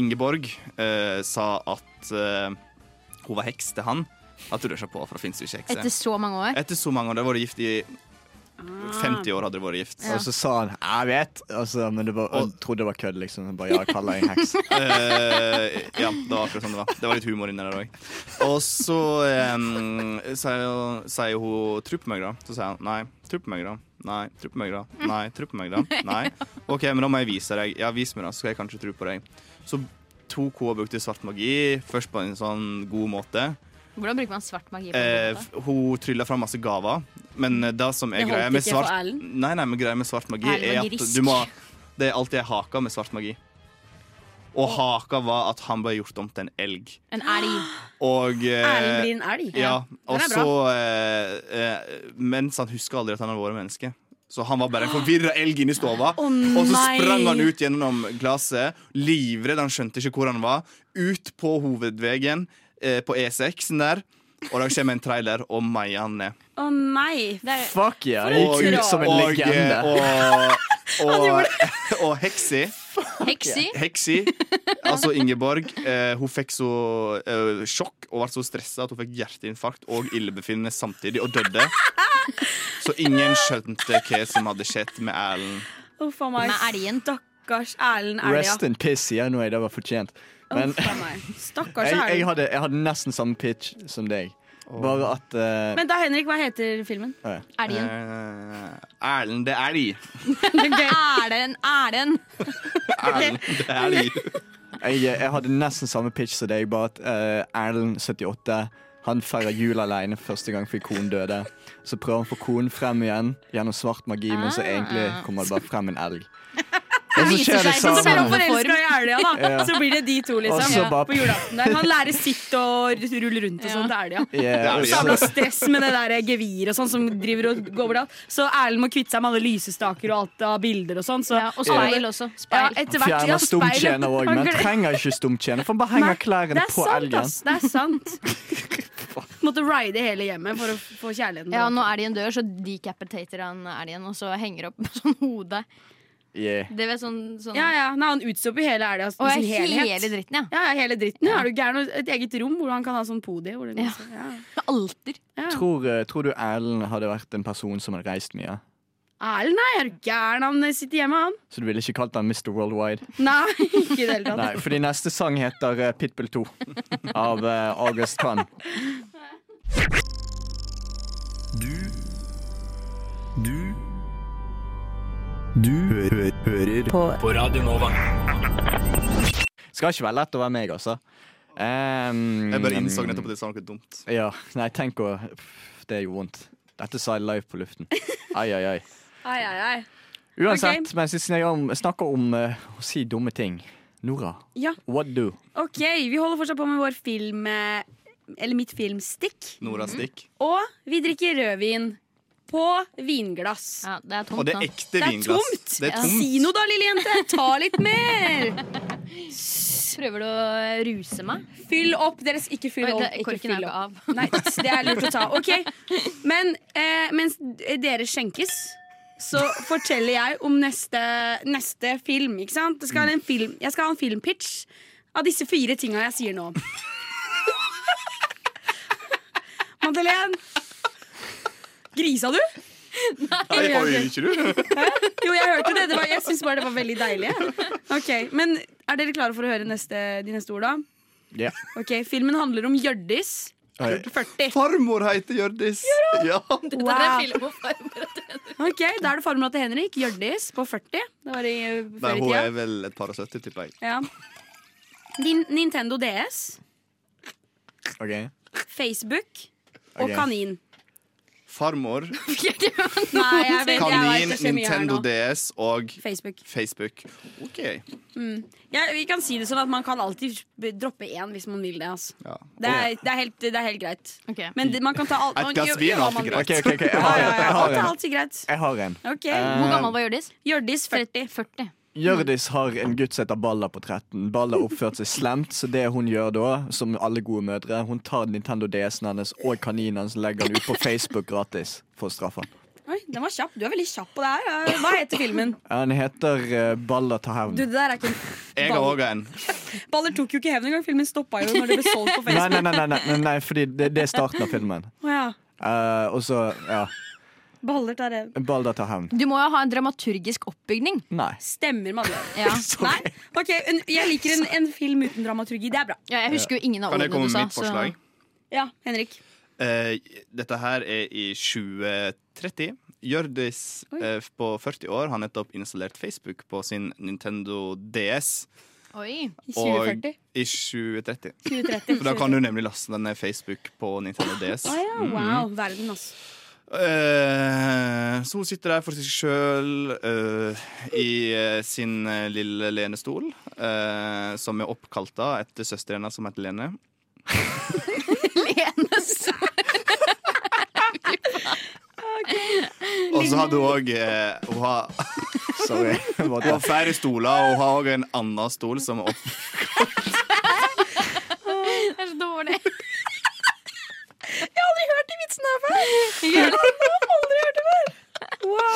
S4: Ingeborg eh, sa at eh, hun var heks til han. At du ikke på, for det fins jo ikke hekser.
S5: Etter så mange år.
S4: Etter så mange år. Da var de gift i 50 år. hadde de vært gift
S2: Og så sa han 'jeg vet', og så- men det var,
S4: Og-
S2: jeg trodde det var kødd. liksom Han Bare ja, kall deg en heks.
S4: Eh, Ja, det var akkurat sånn det var. Det var litt humor inni der òg. Og så eh, sier sier hun 'tro på meg', da. Så sier han nei. Tro på meg, da. Nei. Tro på meg, da. Nei. Tro på meg, da. Nei. OK, men da må jeg vise deg. Ja, vis meg, da, så skal jeg kanskje tro på deg. Så tok hun og brukte svart magi, først på en sånn god måte.
S5: Hvordan bruker man svart magi? på
S4: Eh,
S5: en
S4: f-
S5: måte?
S4: hun trylla fram masse gaver, men eh, det som er
S8: Det holdt
S4: greia med
S8: ikke for
S4: svart
S8: Erlend.
S4: Nei, nei, men greia med svart magi
S5: Erlend
S4: er
S5: var
S4: at
S5: grisk.
S4: du må Det er alltid ei hake med svart magi. Og haka var at han ble gjort om til en elg.
S5: En elg.
S4: Og
S6: Erlend
S4: eh,
S6: blir en elg.
S4: ja, og
S6: Den er bra.
S4: så eh, eh, Mens han husker aldri at han har vært menneske. Så han var bare en forvirra elg inne i stova. og så
S6: nei.
S4: sprang han ut gjennom glasset, livredd, han skjønte ikke hvor han var. Ut på hovedveien eh, på E6-en der, og da kommer en trailer og meier han ned.
S6: Å nei.
S5: Det er,
S2: Fuck ja, jeg gikk ut som en
S4: og,
S2: legende.
S4: eh, Og, og, og Heksi,
S5: Heksi.
S4: Heksi altså Ingeborg, eh, hun fikk så eh, sjokk og ble så stressa at hun fikk hjerteinfarkt og illebefinnende samtidig, og døde. Så ingen skjønte hva som hadde skjedd med Erlend.
S6: Uff a meg.
S5: Med elgen.
S6: Stakkars Erlend elg.
S2: Rest in piss, sier jeg nå. Det var fortjent. Men
S6: Uff a meg. Stakkars
S2: jeg, jeg,
S6: Erlend.
S2: hadde, jeg hadde nesten samme pitch som deg. Bare at eh,
S6: Men da, Henrik, hva heter filmen?
S2: å ja.
S5: Elgen.
S4: Eh, Erlend, det er de. Eh.
S5: Erlend, Erlend.
S4: Erlend, det er de.
S2: jeg, jeg hadde nesten samme pitch som deg, bare at eh, Erlend, 78, han feirer jul alene første gang fordi konen døde. Så prøver han å få konen frem igjen gjennom svart magi, men
S6: Ah.
S2: så egentlig kommer det bare frem en elg. Og så
S5: viser
S2: skjer det
S5: seg-
S6: Så blir han
S5: Samme.
S2: samme.
S6: forelska i Elga, da.
S2: Ja.
S6: Så blir det de to,
S2: Og
S6: liksom.
S2: så bare-
S6: På julaften der. Han lærer sitt og rulle rundt og sånn til Elga.
S2: Ja, og
S6: Jævla
S2: så-
S6: stress med det der geviret og sånn som driver og går over det. Så Erlend må kvitte seg med alle lysestaker og alt av bilder og sånn. Så
S5: Eh, Ja, og speil også.
S6: Ja,
S5: Speil.
S6: etter hvert.
S2: Fjerner
S6: Ja, speil, ja.
S2: stumtjener òg, men trenger ikke stumtjener, for han bare henger klærne
S6: Det er
S2: på
S6: sant,
S2: elgen.
S6: ass. Det er sant. Måtte ride hele hjemmet for å få kjærligheten.
S5: Ja, når elgen dør, så decapitater han elgen, og så henger opp sånn hode.
S2: Yeah.
S5: Det vet sånn, sånn
S6: ja, ja. Nei, han utstopper hele elga
S5: Og
S6: i sin helhet.
S5: hele dritten, ja.
S6: Ja, ja, hele dritten. Ja, er du gæren? Og Et eget rom hvor han kan ha sånn podie. Hvor det,
S5: Ja.
S6: ja.
S5: Alter.
S2: Tror, eh, tror du Erlend hadde vært en person som hadde reist mye?
S6: Erlend, nei, er du gæren? Han sitter hjemme, han.
S2: Så du ville ikke kalt han Mr. Worldwide?
S6: Nei, ikke i det hele tatt.
S2: Nei, fordi neste sang heter eh, Pitbull 2 av eh, August Khan.
S7: Du Du Du hø hø hører på. på Radio Nova.
S2: Skal ikke være lett å være meg, altså. Ehm,
S4: Jeg bare innså nettopp at jeg sa noe dumt.
S2: Ja, nei, tenk å pff, Det gjorde vondt. Dette sa jeg live på luften. Ai, ai, ai.
S6: Ai, ai, ai.
S2: Uansett, mens vi snakker om, snakker om eh, å si dumme ting Nora,
S6: Ja.
S2: what do?
S6: Ok, vi holder fortsatt på med vår film eh, Eller mitt filmstikk
S4: Nora Stikk.
S6: Og vi drikker rødvin på vinglass
S5: Ja, det er
S4: Og
S5: tomt
S4: det
S5: nå.
S4: er ekte
S6: Det er
S4: vinglass.
S6: tomt.
S4: Det er tomt.
S6: Si noe da, lille jente, ta litt mer
S5: Prøver du å ruse meg?
S6: Fyll opp, deres ikke fyll
S5: Oi,
S6: opp
S5: det,
S6: ikke
S5: korken er
S6: fyll
S5: jo
S6: opp.
S5: ikke av.
S6: Nei, det er lurt å ta Ok, men eh, mens dere skjenkes Så forteller jeg om neste, neste film, ikke sant? Det skal en film, jeg skal ha en filmpitch Av disse fire tingene jeg sier nå Madeleine Grisa du?
S4: Nei, oi, ikke du?
S6: Jo, jeg hørte det, det var, jeg synes bare det var veldig deilig jeg. Ok, men er dere klare for å høre neste, de neste ordene?
S2: Ja.
S6: Ok, filmen handler om Gjørdis
S2: Oi.
S6: 40
S4: Farmor heter Hjørdis. Ja.
S6: Wow. Ok, Da er det formula til Henrik. Hjørdis på 40. Det var i uh,
S4: Nei,
S6: før i
S4: hun
S6: tida.
S4: er E. vel et par og sytti, tipper jeg.
S6: Ja. Din Nintendo DS,
S2: OK.
S6: Facebook og
S2: Ok.
S6: kanin.
S4: Farmor,
S6: Nei, jeg vet, jeg
S4: kanin,
S6: vet,
S4: Nintendo DS og
S6: Facebook.
S4: Facebook. OK.
S6: Ja, vi kan si det sånn at Man kan alltid droppe én hvis man vil det. Altså.
S4: Ja.
S6: Det, er, det, er helt, det er helt greit.
S5: Ok.
S6: Men det, man kan ta alt.
S4: Et
S6: man-
S4: glass
S6: gjør-
S4: vin er
S6: gjør hva
S4: alltid
S6: man vil.
S4: greit.
S2: ok, ok, ok, Jeg
S6: Ja,
S2: har
S6: ja,
S2: en.
S6: ja,
S2: Jeg har
S6: alt er
S2: en.
S6: alltid greit.
S2: Jeg har en.
S6: Ok,
S5: Hvor
S2: Eh,
S5: gammel var Hjørdis?
S6: Hjørdis 40.
S5: 40.
S2: Hjørdis har en gutt som heter Balla på 13. Balla har oppført seg slemt, så det hun gjør da, som alle gode mødre, hun tar Nintendo DS-en hennes og kaninen hennes og legger den ut på Facebook gratis for å straffe han.
S6: Oi, den var kjapp. Du er veldig kjapp på det her. Ja, Hva heter filmen?
S2: Han heter eh, Balla tar hevn.
S6: Du, det der er ikke en
S4: Jeg har òg en.
S6: Baller tok jo ikke hevn engang. Filmen stoppa jo når det ble solgt på
S2: Nei,
S6: Facebook.
S2: nei, nei, nei, nei, nei, nei fordi det, det er starten av filmen.
S6: Å ja.
S2: Eh, og så, ja,
S6: Baller tar hevn.
S2: Balla tar hevn.
S5: Du må jo ha en dramaturgisk oppbygning.
S2: Nei.
S6: Stemmer, Madeleine.
S5: Ja.
S6: Nei? Ok, en, Jeg liker en, en film uten dramaturgi. Det er bra.
S5: Ja, jeg husker jo ingen av
S4: Kan jeg
S5: ordene
S4: komme med
S5: du sa.
S4: mitt forslag?
S6: Ja, Henrik.
S4: Eh, dette her er i 2030. Hjørdis eh, på 40 år har nettopp installert Facebook på sin Nintendo DS.
S5: Oi.
S6: I
S4: Og
S6: 2040.
S4: i 2030.
S6: 2030.
S4: For da kan du nemlig laste ned Facebook på Nintendo DS.
S6: Å ja, wow. Verden, altså.
S4: Eh, så hun sitter der for seg sjøl i eh, sin eh, lille lenestol, eh, som er oppkalt da etter søsteren hennes som heter Lene. Og så hadde hun òg Hun har
S2: Sorry. Var
S4: Hun
S2: det.
S4: har flere stoler, og hun har òg en annen stol som er opp...
S5: Det er så dårlig.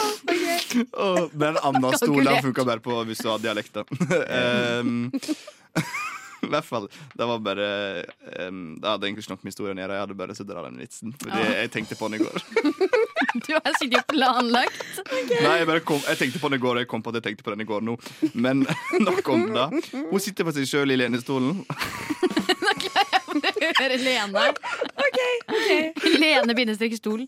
S4: Og den andre stolen funka bare på hvis du har dialekter. um, I hvert fall. Det var bare um, Det hadde egentlig ikke nok med historien å gjøre. Jeg hadde bare så dra den vitsen. Fordi jeg tenkte på den i går.
S5: Du har sittet planlagt.
S4: Nei, jeg, bare kom, jeg tenkte på den i går, og jeg kom på at jeg tenkte på den i går nå. Men nok om det. Hun sitter for seg sjøl i lenestolen.
S5: Høre Lene. Lene bindestrek stol.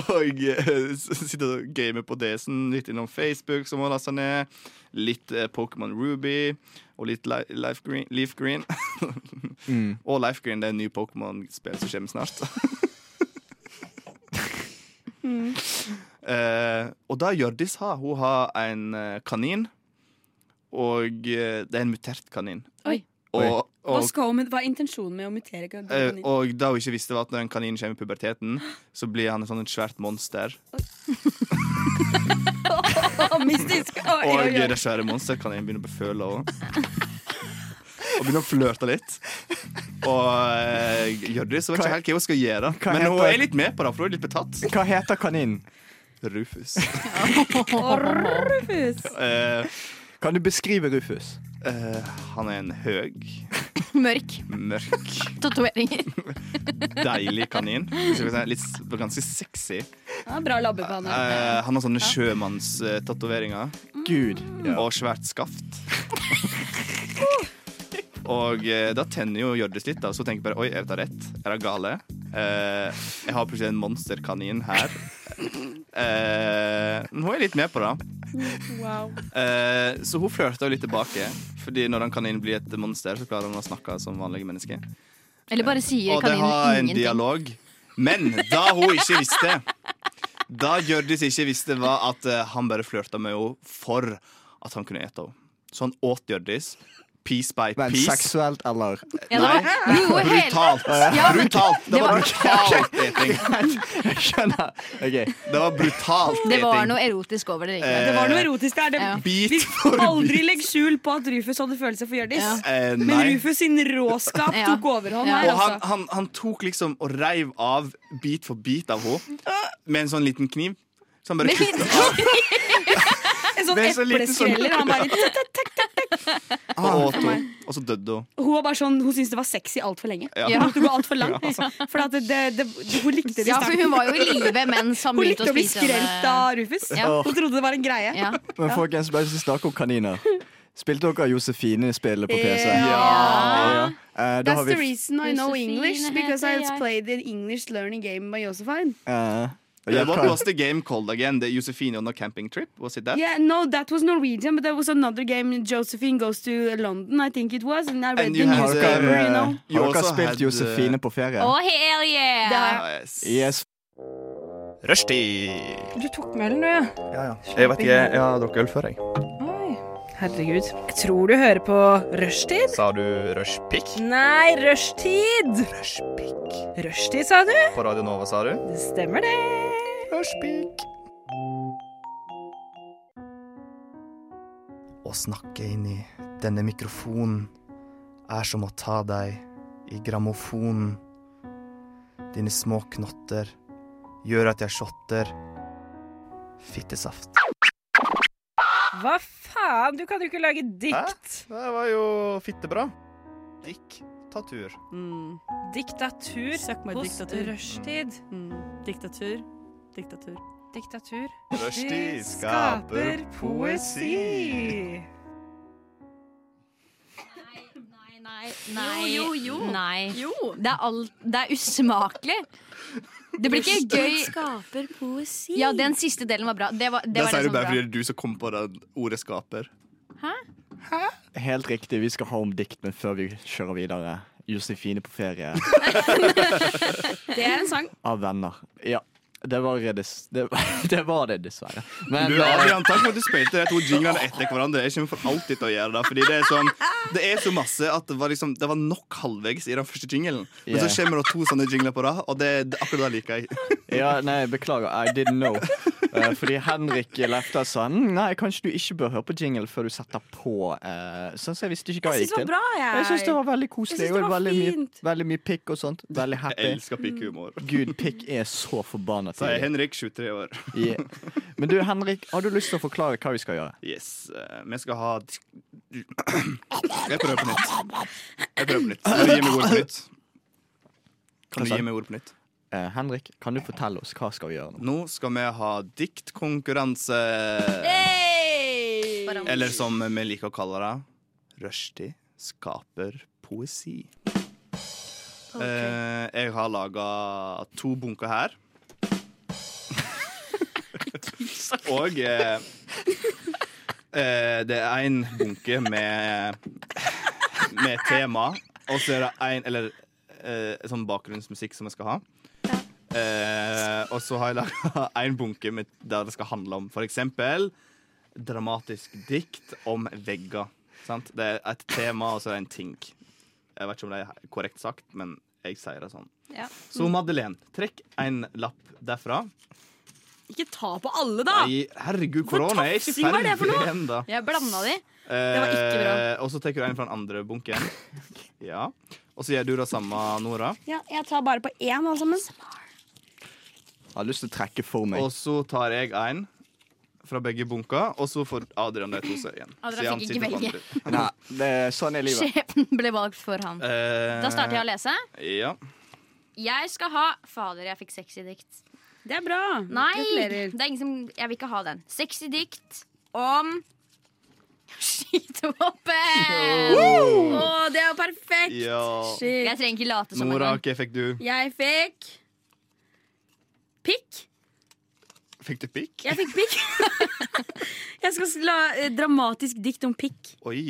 S4: Og eh, s- sitter og gamer på DS-en, litt innom Facebook, som hun har lasta ned. Litt eh, Pokémon Ruby og litt Li- Life Green. Leaf Green. og Life Green det er en ny Pokémon-spill som kommer snart.
S6: Mm.
S4: Eh, og det Hjørdis har, hun har en eh, kanin. Og eh, det er en mutert kanin.
S5: Oi.
S4: Og,
S6: Hva,
S4: og,
S6: skal hun, med- hva er intensjonen med å mutere kanin?
S4: eh, og det hun ikke visste, var at når en kanin kommer i puberteten, så blir han et sånt svært monster.
S6: Å, mystisk. Å, oi,
S4: Og
S6: oi, oi.
S4: det svære monster kan jeg begynne å beføle òg. Og begynne å flørte litt. Og eh, Hjørdis vet ikke helt hva hun skal gjøre.
S2: Hva
S4: Men hun
S2: heter-
S4: er litt med på det, for hun er litt betatt.
S2: Hva heter kaninen?
S4: Rufus.
S6: Å, Rufus.
S4: Eh,
S2: Kan du beskrive Rufus?
S4: eh, han er en høg,
S5: Mørk.
S4: mørk,
S5: Tatoveringer.
S4: deilig kanin. Hvis jeg kan si, Litt ganske sexy.
S6: Ja, bra
S4: Eh,
S6: labbebane.
S4: han har sånne sjømannstatoveringer.
S2: Gud.
S4: og svært skaft. Og eh, da tenner jo Hjørdis litt, da, og så tenker jeg bare Oi, er dette rett? Er det gale? Eh, jeg har plutselig en monsterkanin her. Eh, men hun er litt med på det.
S6: Wow.
S4: Eh, så hun flørter jo litt tilbake. Fordi når en kanin blir et monster, så klarer han å snakke som vanlige mennesker.
S5: Eller bare sier
S4: Og de har en
S5: kaninen ingenting.
S4: dialog. Men da hun ikke visste Da Hjørdis ikke visste, var at eh, han bare flørta med henne for at han kunne ete henne. Så han åt Hjørdis. Piece by
S2: Men
S4: piece.
S2: seksuelt eller
S5: Ja, det var,
S4: Nei.
S5: jo, hele,
S4: Brutalt.
S5: Ja, men-
S4: brutalt. Det
S5: det
S4: var
S5: var-
S4: brutalt eting.
S2: Jeg skjønner. Ok.
S4: Det var brutalt
S5: det var
S4: eting.
S5: noe erotisk over det. Ikke?
S4: Eh,
S6: Det var noe erotisk der. Det,
S5: Ja.
S4: Bit
S6: Vi
S4: for
S6: aldri legg skjul på at Rufus hadde følelser for Hjørdis.
S5: Ja.
S4: Eh,
S6: Men
S4: nei.
S6: Rufus sin råskap
S5: Ja.
S6: tok overhånd
S5: Ja.
S6: her,
S4: Og han,
S6: altså.
S4: han, han tok liksom og reiv av bit for bit av henne med en sånn liten kniv. Så han bare
S5: Men-
S4: kutta av
S6: En sånn
S2: Det er så liten sånn-
S6: epleskreller. Han bare litt
S4: og åt henne. Og så døde hun.
S6: Hun var bare sånn, hun syntes det var sexy altfor lenge.
S4: Ja.
S6: Hun måtte gå alt for langt. Liksom. For at det, det, hun likte det i
S5: Ja, for
S6: starten.
S5: hun var jo i live mens han
S6: Hun
S5: begynte
S6: likte
S5: å
S6: å bli
S5: spise
S6: skrelt
S5: henne.
S6: av Rufus.
S5: Ja.
S6: Hun trodde det var en greie.
S5: Ja.
S2: Men folkens, bare hvis vi snakker om kaniner. Spilte dere Josefine-spillet på PC?
S6: Ja.
S2: Eh, da har
S6: That's
S2: vi
S6: the reason I know
S5: Josefine
S6: English, because
S5: heter
S6: I
S5: jeg.
S6: played an English learning game by Josephine.
S2: eh,
S4: Yeah,
S2: jeg
S4: what
S2: kan-
S4: was the game called again? The Josefine on a camping trip? Was it that?
S6: Yeah, no, that was Norwegian, but there was another game, Josephine Goes to London, I think it was, and I read
S4: And
S6: the
S4: you uh, had,
S2: Har dere,
S6: newspaper, you know.
S2: eh, har
S4: You
S2: dere
S4: also
S2: spilt
S4: had,
S2: Josefine på ferie?
S5: Oh, hell
S6: Det
S5: yeah!
S6: har jeg.
S4: Ah, yes.
S2: Yes.
S1: Rushtid!
S8: Du tok melen, du, ja.
S1: Jeg vet ikke, jeg har drukket øl før, jeg.
S8: Oi. Herregud. Jeg tror du hører på rushtid.
S1: Sa du rushpick?
S8: Nei, rushtid!
S1: Rushpick.
S8: Rushtid, sa du?
S1: På Radio Nova, sa du?
S8: Det stemmer, det.
S1: Rushpick.
S4: Å snakke inn i denne mikrofonen er som å ta deg i grammofonen. Dine små knotter gjør at jeg shotter. Fittesaft.
S8: Hva faen? Du kan jo ikke lage dikt.
S4: Det var jo fittebra. Diktatur.
S8: Diktatur
S9: Søk meg
S8: hos
S9: diktatur. Mm.
S8: rushtid.
S9: Diktatur. Diktatur.
S8: Diktatur.
S4: Rushtid
S8: Det
S4: skaper poesi.
S5: Nei, nei, nei.
S9: Jo, jo, jo.
S5: Nei.
S9: Jo!
S5: Det er, alt, det er usmakelig. Det blir ikke gøy.
S10: skaper poesi.
S5: Ja, den siste delen var bra. Det var det,
S4: Det
S5: var
S4: sier
S5: det
S4: du
S5: som var
S4: bare fordi
S5: bra.
S4: det er du som kom på det ordet skaper.
S2: Helt riktig, vi skal ha om dikt, men før vi kjører videre. Josefine på ferie
S6: Det er en sang.
S2: av venner. Ja, det var det, det, det, var det dessverre. Men eh,
S4: Du Adrian, takk for at du spilte de to jinglene etter hverandre. Jeg kommer for alltid til å gjøre det. Fordi det er, sånn, det er så masse at det var, liksom, det var nok halvvegs i den første jinglen. Men så
S2: Yeah.
S4: kommer det to sånne jingler på rad, og det, det, akkurat det liker jeg.
S2: Ja, nei, beklager. I didn't know. Eh, fordi Henrik Lefta sa "Mm, Nei, kanskje du ikke bør høre på jingle før du setter på. eh, sånn så jeg visste ikke hva
S8: Jeg
S2: jeg
S8: syns
S2: gikk
S8: det
S2: til.
S8: var bra, jeg.
S2: Jeg syns det var veldig koselig.
S8: Jeg synes det
S2: og
S8: var
S2: veldig, mye,
S8: fint.
S2: veldig mye pikk og sånt. Veldig
S4: Jeg
S2: happy.
S4: elsker pikkhumor.
S2: Gud, pikk er så forbanna
S4: Så er
S2: tidlig.
S4: Henrik 23 år.
S2: Yeah. Men du, Henrik, har du lyst til å forklare hva vi skal gjøre?
S4: Yes. eh, Vi skal ha Jeg prøver på nytt. Jeg prøver på nytt. Kan du gi meg ordet på nytt? Kan du gi meg ordet på nytt?
S2: Eh, Henrik, kan du fortelle oss hva skal vi gjøre nå?
S4: Nå skal vi ha diktkonkurranse. Eller som vi liker å kalle det, rushtid skaper poesi. Eh, jeg har laga to bunker her. Og eh, eh, det er én bunke med, med tema, og så er det én Eller eh, sånn bakgrunnsmusikk som jeg skal ha. Eh, og så har jeg laga én bunke med, der det skal handle om for eksempel dramatisk dikt om vegger. Sant? Det er et tema, og så er det en ting. Jeg vet ikke om det er korrekt sagt, men jeg sier det sånn.
S5: Ja.
S4: Så Madeleine, trekk en lapp derfra.
S6: Ikke ta på alle, da!
S4: Nei, herregud, korona er ikke
S6: tafsing Ah! var det for
S4: ferdig
S6: noe?
S4: ennå.
S5: Jeg blanda de.
S4: var
S6: ikke bra.
S4: Og så tar du en fra den andre bunken. Ja. Og så gjør du det samme, Nora.
S6: Ja, jeg tar bare på én, alle sammen.
S2: Jeg har lyst til å trekke for meg.
S4: Og så tar jeg en fra begge bunker, og så får Adrian de to som er igjen.
S5: Adrian
S4: Så jeg
S5: fikk ikke
S4: sitter på
S5: velge.
S4: andre.
S2: Nei, det, sånn er livet.
S5: Skjebnen ble valgt for han.
S4: Eh,
S5: Da starter jeg å lese.
S4: Ja.
S5: Jeg skal ha Fader, jeg fikk sexy dikt.
S6: Det er bra.
S5: Nei! Det
S6: Gratulerer.
S5: er ingen som, jeg vil ikke ha den. Sexy dikt om skytevåpen!
S6: Å, det er jo perfekt!
S4: ja.
S5: Jeg
S6: Shit.
S5: trenger ikke late som
S4: Nora,
S5: engang.
S4: hva fikk du?
S6: Jeg fikk pikk.
S4: Fikk du pikk?
S6: Jeg fikk pikk. jeg skal la eh, dramatisk dikt om pikk.
S4: Oi.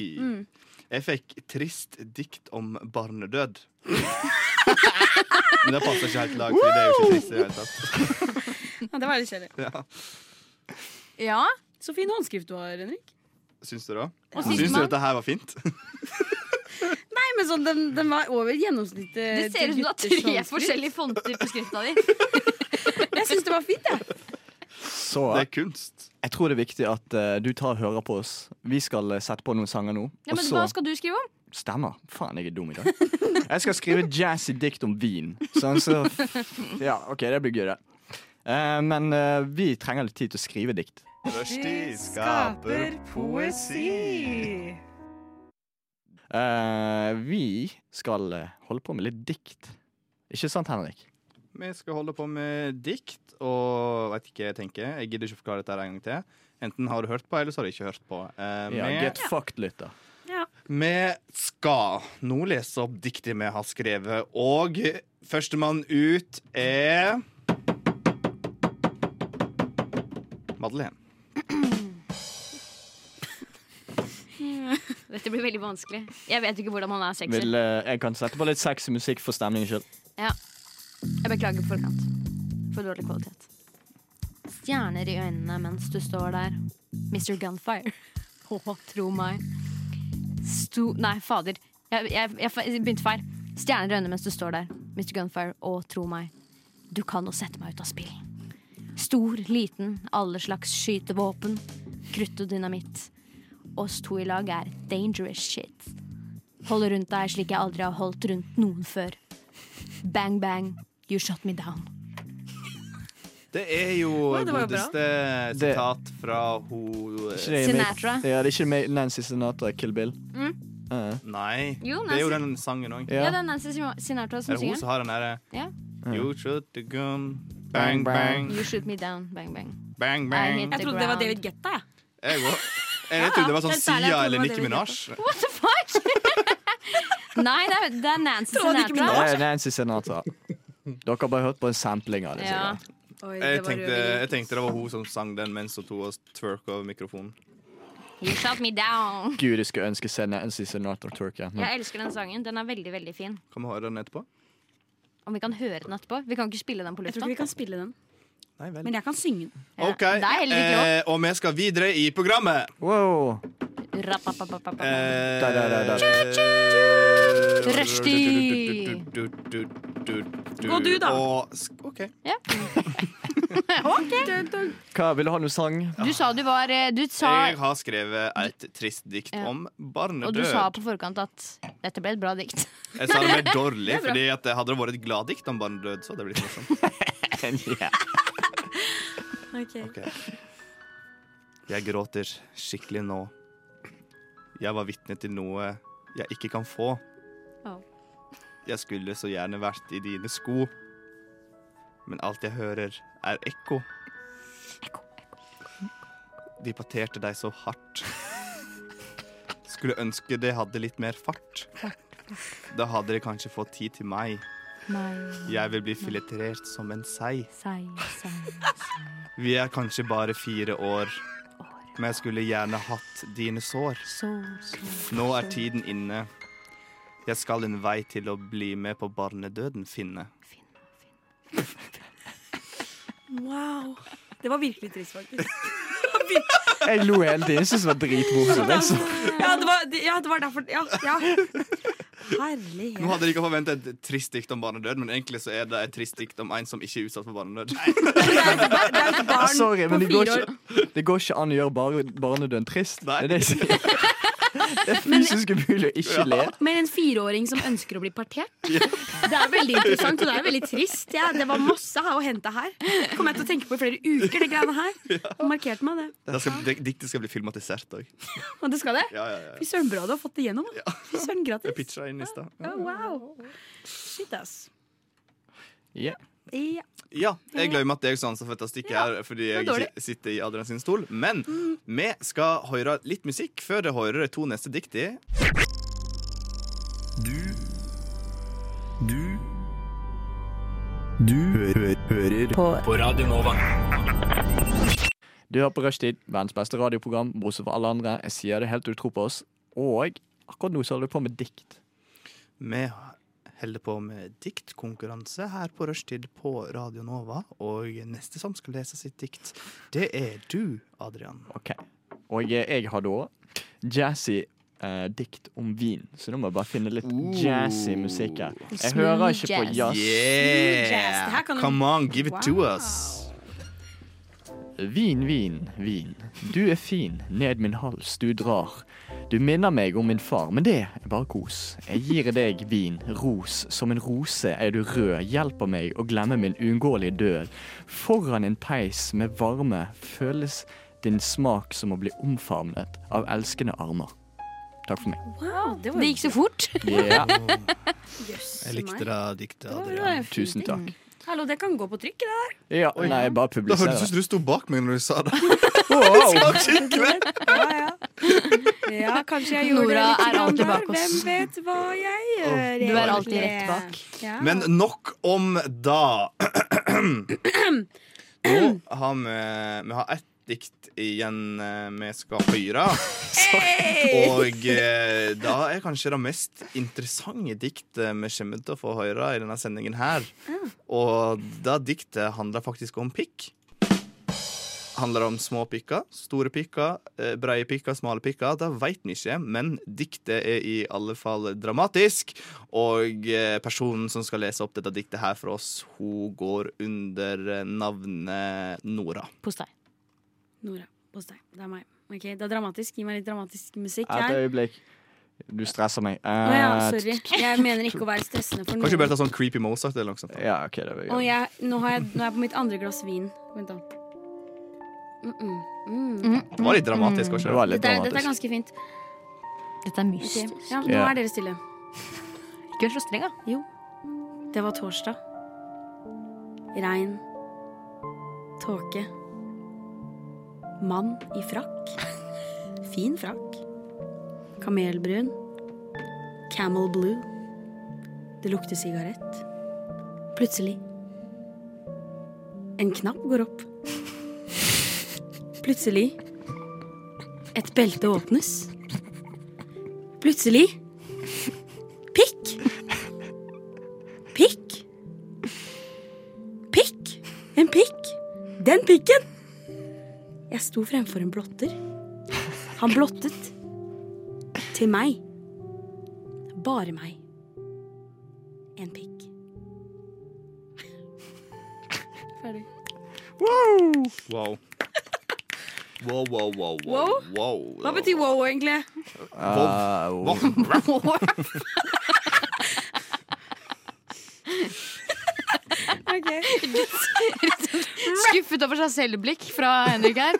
S4: Jeg fikk trist dikt om barnedød. Men det passer ikke helt i dag, for det er jo ikke trist i det hele tatt.
S6: Ja, det var litt kjedelig.
S4: Ja.
S5: Ja,
S6: Så fin håndskrift du har, Henrik.
S4: Syns du det?
S5: Og
S4: Syns du
S5: sistemann.
S4: dette her var fint?
S6: Nei, men sånn, den, den var over gjennomsnittet.
S5: Det ser ut som
S6: til
S5: du har
S6: gutters
S5: tre
S6: håndskrift.
S5: forskjellige fonter på skrifta di.
S6: Jeg syns det var fint, jeg.
S2: Så
S4: Det er kunst.
S2: jeg tror det er viktig at eh, du tar og hører på oss. Vi skal eh, sette på noen sanger nå.
S5: Ja,
S2: og
S5: men
S2: så
S5: hva skal du skrive om?
S2: Stemmer. Faen, jeg er dum i dag. Jeg skal skrive jazzy dikt om vin. Sånn, så Ja, OK, det blir gøy, det. Eh, men eh, vi trenger litt tid til å skrive dikt.
S4: Rushtid
S8: skaper poesi.
S2: Eh, vi skal eh, holde på med litt dikt. Ikke sant, Henrik?
S4: Vi skal holde på med dikt og veit ikke hva jeg tenker. Jeg gidder ikke forklare dette her en gang til. Enten har du hørt på, eller så har du ikke hørt på. Eh,
S2: Ja,
S4: vi-
S2: Get fucked, lytter.
S4: Vi skal nå lese opp diktet vi har skrevet, og førstemann ut er Madeleine.
S5: Dette blir veldig vanskelig. Jeg vet ikke hvordan man er sexy.
S2: Vil, eh, jeg kan sette på litt sexy musikk for stemningen sjøl.
S5: Jeg beklager på forkant. For dårlig kvalitet. Stjerner i øynene mens du står der. Mr. Gunfire. Å, tro meg. Sto... Nei, fader. Jeg, jeg, jeg, fe- begynte feil. Stjerner i øynene mens du står der. Mr. Gunfire. Å, tro meg. Du kan nå sette meg ut av spill. Stor, liten, alle slags skytevåpen. Krutt og dynamitt. Oss to i lag er dangerous shit. Holde rundt deg slik jeg aldri har holdt rundt noen før. Bang, bang, you shot me down.
S4: Det er jo
S9: Oi, det var jo bra.
S4: godeste
S2: Det-
S4: sitat fra hun
S5: Sinatra.
S2: Ja, det er ikke med Nancy Sinatra, Kill Bill. Eh,
S4: Nei,
S5: Jo,
S4: det er jo
S5: Nancy-
S4: den sangen òg.
S5: Ja,
S2: ja.
S5: det er Nancy Sinatra
S4: Er
S5: som
S4: det hun som
S5: synger.
S4: har den derre
S5: Ja.
S4: You shoot the gun, bang,
S2: Bang,
S4: bang,
S5: You shoot me down, bang, bang.
S4: bang,
S5: I
S4: bang.
S5: hit-
S6: Jeg trodde det var David Getta. jeg.
S4: Jeg òg. Jeg trodde det var sånn
S6: Helt ærlig, jeg
S4: Sia
S6: trodde
S4: eller
S6: det var
S4: Nicki
S6: David
S4: Minaj.
S5: What the fuck? Nei, det er, det er Nancy
S6: Tror du ikke
S5: Sinatra.
S2: Det er Nancy Sinatra. Dere har bare hørt på en sampling av det.
S5: Ja.
S2: sikkert.
S6: Oi,
S4: Jeg
S6: det var
S4: tenkte,
S6: røveri.
S4: jeg tenkte det var hun som sang den mens hun to og twerk over mikrofonen.
S5: You shut me down.
S2: Gud, jeg skulle ønske Sene NC Senator Turkey. Men
S5: Jeg elsker den sangen. Den er veldig, veldig fin.
S4: Kan vi høre den etterpå?
S5: Om vi kan høre den etterpå? Vi kan ikke spille den på
S6: Jeg
S5: lufta.
S6: tror ikke vi kan spille den.
S4: Nei vel.
S6: Men jeg kan synge den.
S5: Ja,
S4: OK.
S5: det er heller ikke lov.
S4: eh, og vi skal videre i programmet.
S2: wow!
S5: Rapapapapapa.
S4: Eh,
S2: Da, da, da, da.
S5: Rushdie.
S6: Gå du, da.
S4: Og, sk- OK.
S2: Hva, Vil du ha noe sang?
S5: Du sa du var eh, Du sa
S4: Jeg har skrevet et trist dikt
S5: Ja.
S4: om
S5: Og du sa
S4: barnedød.
S5: på forkant at dette ble et bra dikt.
S4: Jeg sa det ble dårlig, fordi at det hadde det vært et gladdikt om barnedød, så hadde det blitt morsomt.
S2: Ja.
S4: Ok. Jeg gråter skikkelig nå. Jeg var vitne til noe jeg ikke kan få.
S5: Å.
S4: Jeg skulle så gjerne vært i dine sko, men alt jeg hører, er ekko. De parterte deg så hardt. Skulle ønske det hadde litt mer fart. Da hadde det kanskje fått tid til meg. Jeg vil bli filetrert som en sei. Vi er kanskje bare fire år, men jeg skulle gjerne hatt dine sår. Nå er tiden inne. Jeg skal en vei til å bli med på barnedøden finne.
S6: Wow. Det var virkelig trist, faktisk.
S2: Jeg lo hele tiden. Jeg synes det var dritmorsomt. altså.
S6: Ja, det var, ja, det var derfor Ja. ja. Herlighet.
S4: Nå hadde de ikke forventet et trist dikt om barnedød, men egentlig så er det et trist dikt om en som ikke er utsatt for barnedød.
S2: Sorry, men det
S5: på
S2: går,
S5: fire år.
S2: ikke, det går ikke an å gjøre bar barnedøden trist. Det
S4: Nei.
S2: er, det, jeg sier. det er fysisk umulig å ikke le.
S5: Men en fireåring som ønsker å bli partert?
S6: Det er veldig interessant, og det er veldig trist. Ja, det var masse her å hente her. Kommer jeg til å tenke på i flere uker, det greiene her. Og markerte meg det.
S4: Det skal, det, diktet skal bli filmatisert òg.
S6: Og det skal det.
S4: Ja, ja, ja.
S6: Fy søren, bra du har fått det gjennom. da. Fy søren,
S4: Jeg
S6: gratis.
S4: pitcha inn i stad.
S6: Ja, wow. Shit, ass.
S2: Ja.
S6: Ja.
S4: Ja, jeg glemmer at jeg som ansvar for dette stikket her, fordi jeg
S6: dårlig. Mm.
S4: si- sitter i Adrian sin stol. Men vi skal høre litt musikk før dere hører de to neste diktene.
S7: Du Du Du hø hø hører på. på Radio Nova.
S2: Du hører på Rushtid, verdens beste radioprogram, bortsett fra alle andre. Jeg sier det helt til du tror på oss. Og akkurat nå så holder du på med dikt.
S4: Vi holder på med diktkonkurranse her på rushtid på Radio Nova. Og neste som skal lese sitt dikt, det er du, Adrian.
S2: Ok. Og eh, jeg har da jazzy eh, dikt om vin, så nå må jeg bare finne litt jazzy musikk her. Jeg hører ikke på jazz.
S5: jazz.
S6: Yes, det her kan du-
S4: Come on, give it to us.
S2: Vin, vin, vin. Du er fin, ned min hals du drar. Du minner meg om min far, men det er bare kos. Jeg gir deg vin, ros, som en rose er du rød, hjelper meg å glemme min uunngåelige død. Foran en peis med varme føles din smak som å bli omfavnet av elskende armer. Takk for meg.
S6: Wow, det
S5: Det gikk så fort.
S2: Ja,
S4: Jeg likte det diktet, Adrian.
S6: var
S2: tusen takk.
S4: Mm.
S6: Hallo, det kan gå på trykk, det der.
S2: Ja, nei, bare
S4: Det høres ut
S2: publiser.
S4: som du sto bak meg når du sa det.
S2: Wow.
S6: Ja, ja. ja, kanskje jeg gjorde
S5: Nora
S6: det. litt
S5: er alltid
S6: grann der.
S5: bak oss.
S6: Hvem vet hva jeg gjør?
S5: Du er alltid
S6: egentlig?
S5: rett bak.
S6: Ja.
S4: Men nok om da. Nå har vi, vi har ett dikt igjen eh, vi skal høre. Og eh, da er kanskje det mest interessante diktet vi kommer til å få høre i denne sendingen her. Og det diktet handler faktisk om pikk. Handler om små pikker, store pikker, eh, breie pikker, smale pikker. Det veit vi ikke, men diktet er i alle fall dramatisk. Og eh, personen som skal lese opp dette diktet her for oss, hun går under eh, navnet Nora.
S5: Postei.
S6: Nora, hos deg. Det er meg. Ok, Det er dramatisk. Gi meg litt dramatisk musikk
S2: Et
S6: her.
S2: øyeblikk. Du stresser meg.
S6: Å ja,
S2: Eh,
S6: sorry. Jeg mener ikke å være stressende for
S4: Kan ikke
S6: noen.
S4: bare ta sånn Creepy Mozart eller noe sånt?
S2: ja, ok, det var
S6: Og
S2: greit.
S6: jeg, nå, har jeg, nå er jeg på mitt andre glass vin. Vent da. Mm -mm. Mm.
S4: Det var litt dramatisk, var
S2: Mm. Det
S4: ikke det?
S2: var litt
S6: Dette, er, dette er
S2: dramatisk.
S6: ganske fint.
S5: Dette er
S6: Ok,
S5: myst.
S6: Ja, nå
S2: Ja.
S6: er dere stille.
S5: Ikke vær så streng, da.
S6: Det var torsdag. Regn. Tåke. Mann i frakk. Fin frakk. Kamelbrun. Camel blue. Det lukter sigarett. Plutselig. En knapp går opp. Plutselig. Et belte åpnes. Plutselig. Pikk. Pikk. Pikk. En pikk. Den pikken. Jeg sto fremfor en blotter. Han blottet. Til meg. Bare meg. En pikk. Ferdig.
S4: Wow. Wow, wow, wow, wow.
S6: Wow?
S4: wow.
S6: Hva betyr wow, egentlig?
S2: Ah, wow.
S5: Skuffet over seg selvblikk fra Henrik her.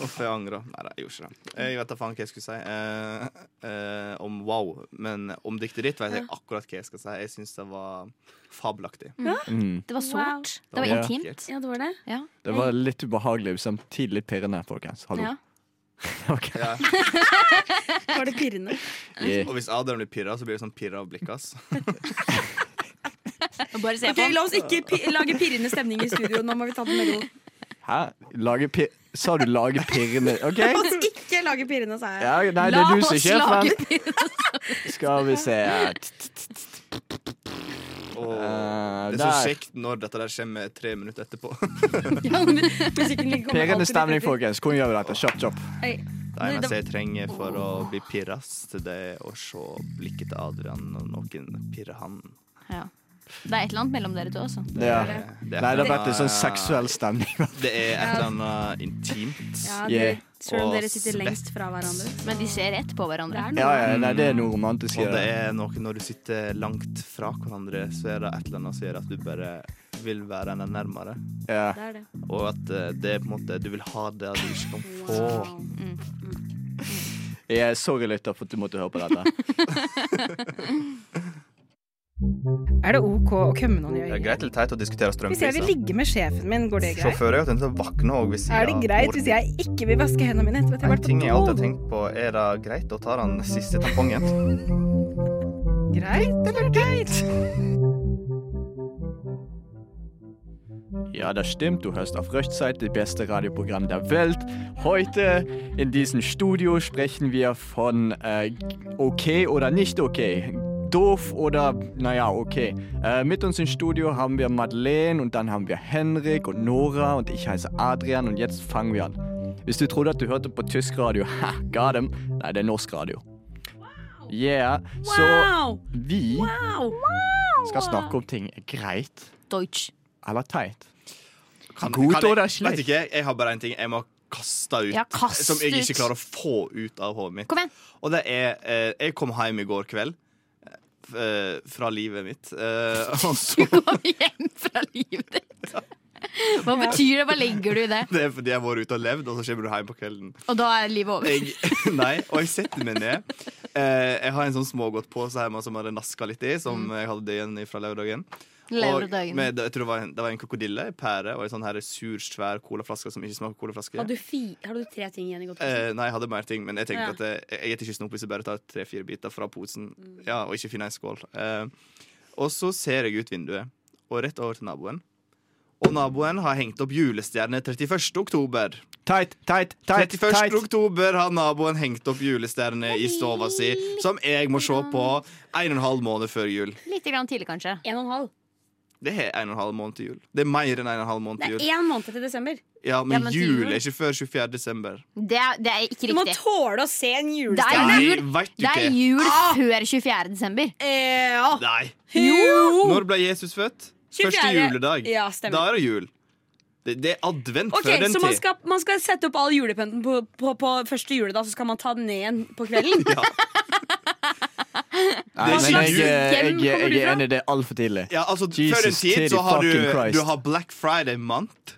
S4: Uff, jeg angrer. Nei, nei, jeg gjorde ikke det. Jeg vet da faen hva jeg skulle si eh, eh, om wow. Men om diktet ditt vet jeg akkurat hva jeg skal si. Jeg syns det var fabelaktig.
S2: Mm.
S5: Det var sårt. Det var
S2: Ja.
S5: intimt.
S6: Ja, det var det.
S5: Ja.
S2: Det var litt ubehagelig, samtidig litt pirrende, folkens. Hallo.
S5: Ja.
S2: Ok.
S4: Ja.
S6: Var det pirrende?
S2: Yeah.
S4: Og hvis Adrian blir pirra, så blir det sånn pirra av blikket hans.
S5: Bare se
S6: Ok, La oss ikke pi lage pirrende stemning i studio. Nå må vi ta det med ro.
S2: Hæ? Lage pir... Sa du lage pirrende OK?
S6: La oss ikke lage pirrende, sa jeg.
S2: Ja, nei, det er
S5: La
S2: du
S5: oss
S2: som ikke er
S5: lage
S2: fan. Skal vi se
S4: Og
S2: Eh,
S4: det er så
S2: der.
S4: kjekt når dette der kommer tre minutter etterpå.
S6: Musikken ligger- kommer
S2: Pirrende
S6: alltid
S2: stemning,
S6: etter.
S2: folkens. Hvordan gjør vi dette? Kjapp, kjapp.
S4: Det eneste jeg trenger for å bli pirrast, det er å se blikket til Adrian når noen pirrer han.
S5: Ja. Det er et eller annet mellom dere to altså. også.
S2: Ja.
S4: Det, det, er
S2: Nei, det har
S4: et eller
S2: vært en sånn
S4: annet-
S2: seksuell stemning.
S4: Det er et eller annet intimt.
S6: Ja,
S2: Yeah.
S6: dere, selv om
S4: Og
S6: dere sitter
S4: svett.
S6: lengst fra hverandre.
S5: Men de ser rett på hverandre.
S2: Ja, ja, nei, det er noe romantisk i
S4: Og det
S2: det.
S4: er noe når du sitter langt fra hverandre, så er det et eller annet som gjør at du bare vil være henne nærmere.
S2: Ja.
S6: Det er det.
S4: Og at eh, det er på en måte Du vil ha det du ikke kan få.
S2: Jeg er sorry, lytter, for at du måtte høre på dette.
S8: Er det OK å kømme noen i
S4: Det er
S8: øynene?
S4: greit liksom. eller teit å diskutere
S8: Hvis jeg vil
S4: strømpriser.
S8: ligge med sjefen min, går det greit?
S4: Sjåfører er jo tenkt å våkne òg hvis
S8: Er det greit hvis jeg ikke vil vaske hendene mine etter at jeg har
S4: En
S8: vært
S4: ting jeg alltid har
S8: på do?
S4: tenkt på, er det greit å ta den siste tampongen?
S8: Greit eller teit?
S2: Ja, das stimmt, du hörst auf Röchtzeit, das beste Radioprogramm der Welt. Heute in diesem Studio sprechen wir von äh, okay oder nicht okay. Doof oder naja, okay. Äh, mit uns im Studio haben wir Madeleine und dann haben wir Henrik und Nora und ich heiße Adrian und jetzt fangen wir an. Hvis du trodde at du hørte på tysk radio, ha, ga dem. Nei, det er norsk radio. Yeah. Så
S6: Wow!
S2: vi
S6: Wow!
S2: skal snakke om ting greit
S5: Deutsch.
S2: eller teit.
S4: Kan-
S2: God
S4: kan jeg-
S2: og det er slekt.
S4: Vet ikke, jeg har bare én ting jeg må kaste ut.
S5: Ja, kast
S4: som jeg ikke
S5: ut.
S4: klarer å få ut av hodet mitt.
S5: Kom igjen.
S4: Og det er eh, Jeg kom hjem i går kveld eh, fra livet mitt. eh, og så
S5: Kom hjem fra livet ditt. Hva betyr det? Hva legger du i det?
S4: Det er fordi jeg har vært ute og levd, og så kommer du hjem på kvelden.
S5: Og da er livet over.
S4: Jeg, nei, og jeg setter meg ned. Eh, jeg har en sånn smågodtpose hjemme som jeg hadde naska litt i,
S5: Mm.
S4: som jeg hadde igjen fra lørdagen. Og
S5: Leverdagen.
S4: med, jeg tror det var en, det var en krokodille, en pære og en sånn her sur, svær colaflaske som ikke smaker colaflaske.
S6: Har du, fi har du tre ting igjen i godtposen?
S4: Eh, nei, jeg hadde mer ting, men jeg tenkte
S6: Ja.
S4: at jeg, jeg er ikke snob hvis jeg bare tar tre-fire biter fra posen
S6: Mm.
S4: ja, og ikke finner en skål. Eh, og så ser jeg ut vinduet, og rett over til naboen. Og naboen har hengt opp julestjerne 31. oktober.
S2: Teit, teit, teit,
S4: 31.
S2: teit.
S4: oktober har naboen hengt opp julestjerne i stova si, som jeg må se på en og en halv måned før jul.
S5: Litt grann tidlig, kanskje.
S6: En og en halv.
S4: Det er en og en halv måned til jul. Det er mer enn en og en halv måned
S6: Det
S4: til
S6: er
S4: jul.
S6: én måned til desember.
S4: Ja,
S5: Ja,
S4: men
S5: men til
S4: jul
S5: jul.
S4: er ikke før 24. desember.
S5: Det er, det er ikke
S6: Du må
S5: riktig.
S6: tåle å se en
S5: Det
S6: julestjerne.
S5: er
S4: Nei,
S5: jul,
S4: veit du
S5: det er
S4: ikke.
S5: jul før 24. desember.
S6: Eh, Ja.
S4: Nei.
S6: Jo!
S4: Når ble Jesus født? Første
S6: 24..
S4: juledag.
S6: Oh. Ja,
S4: da
S6: stemmer.
S4: er det jul. Det, det er advent
S6: Ok,
S4: før den
S6: Så man
S4: tid.
S6: skal, man skal sette opp all julepynten på, på, på første juledag, så skal man ta den ned igjen på kvelden?
S2: Nei,
S4: Det er
S2: men
S4: ikke
S2: jeg, eh,
S4: jul.
S2: jeg,
S6: Hjem
S2: jeg,
S6: kommer du
S2: jeg er
S6: fra?
S2: enig, det er altfor tidlig.
S4: Ja, altså,
S2: Jesus
S4: før den tid så
S2: titty
S4: har du,
S2: fucking Christ.
S4: du har Black Friday-mant.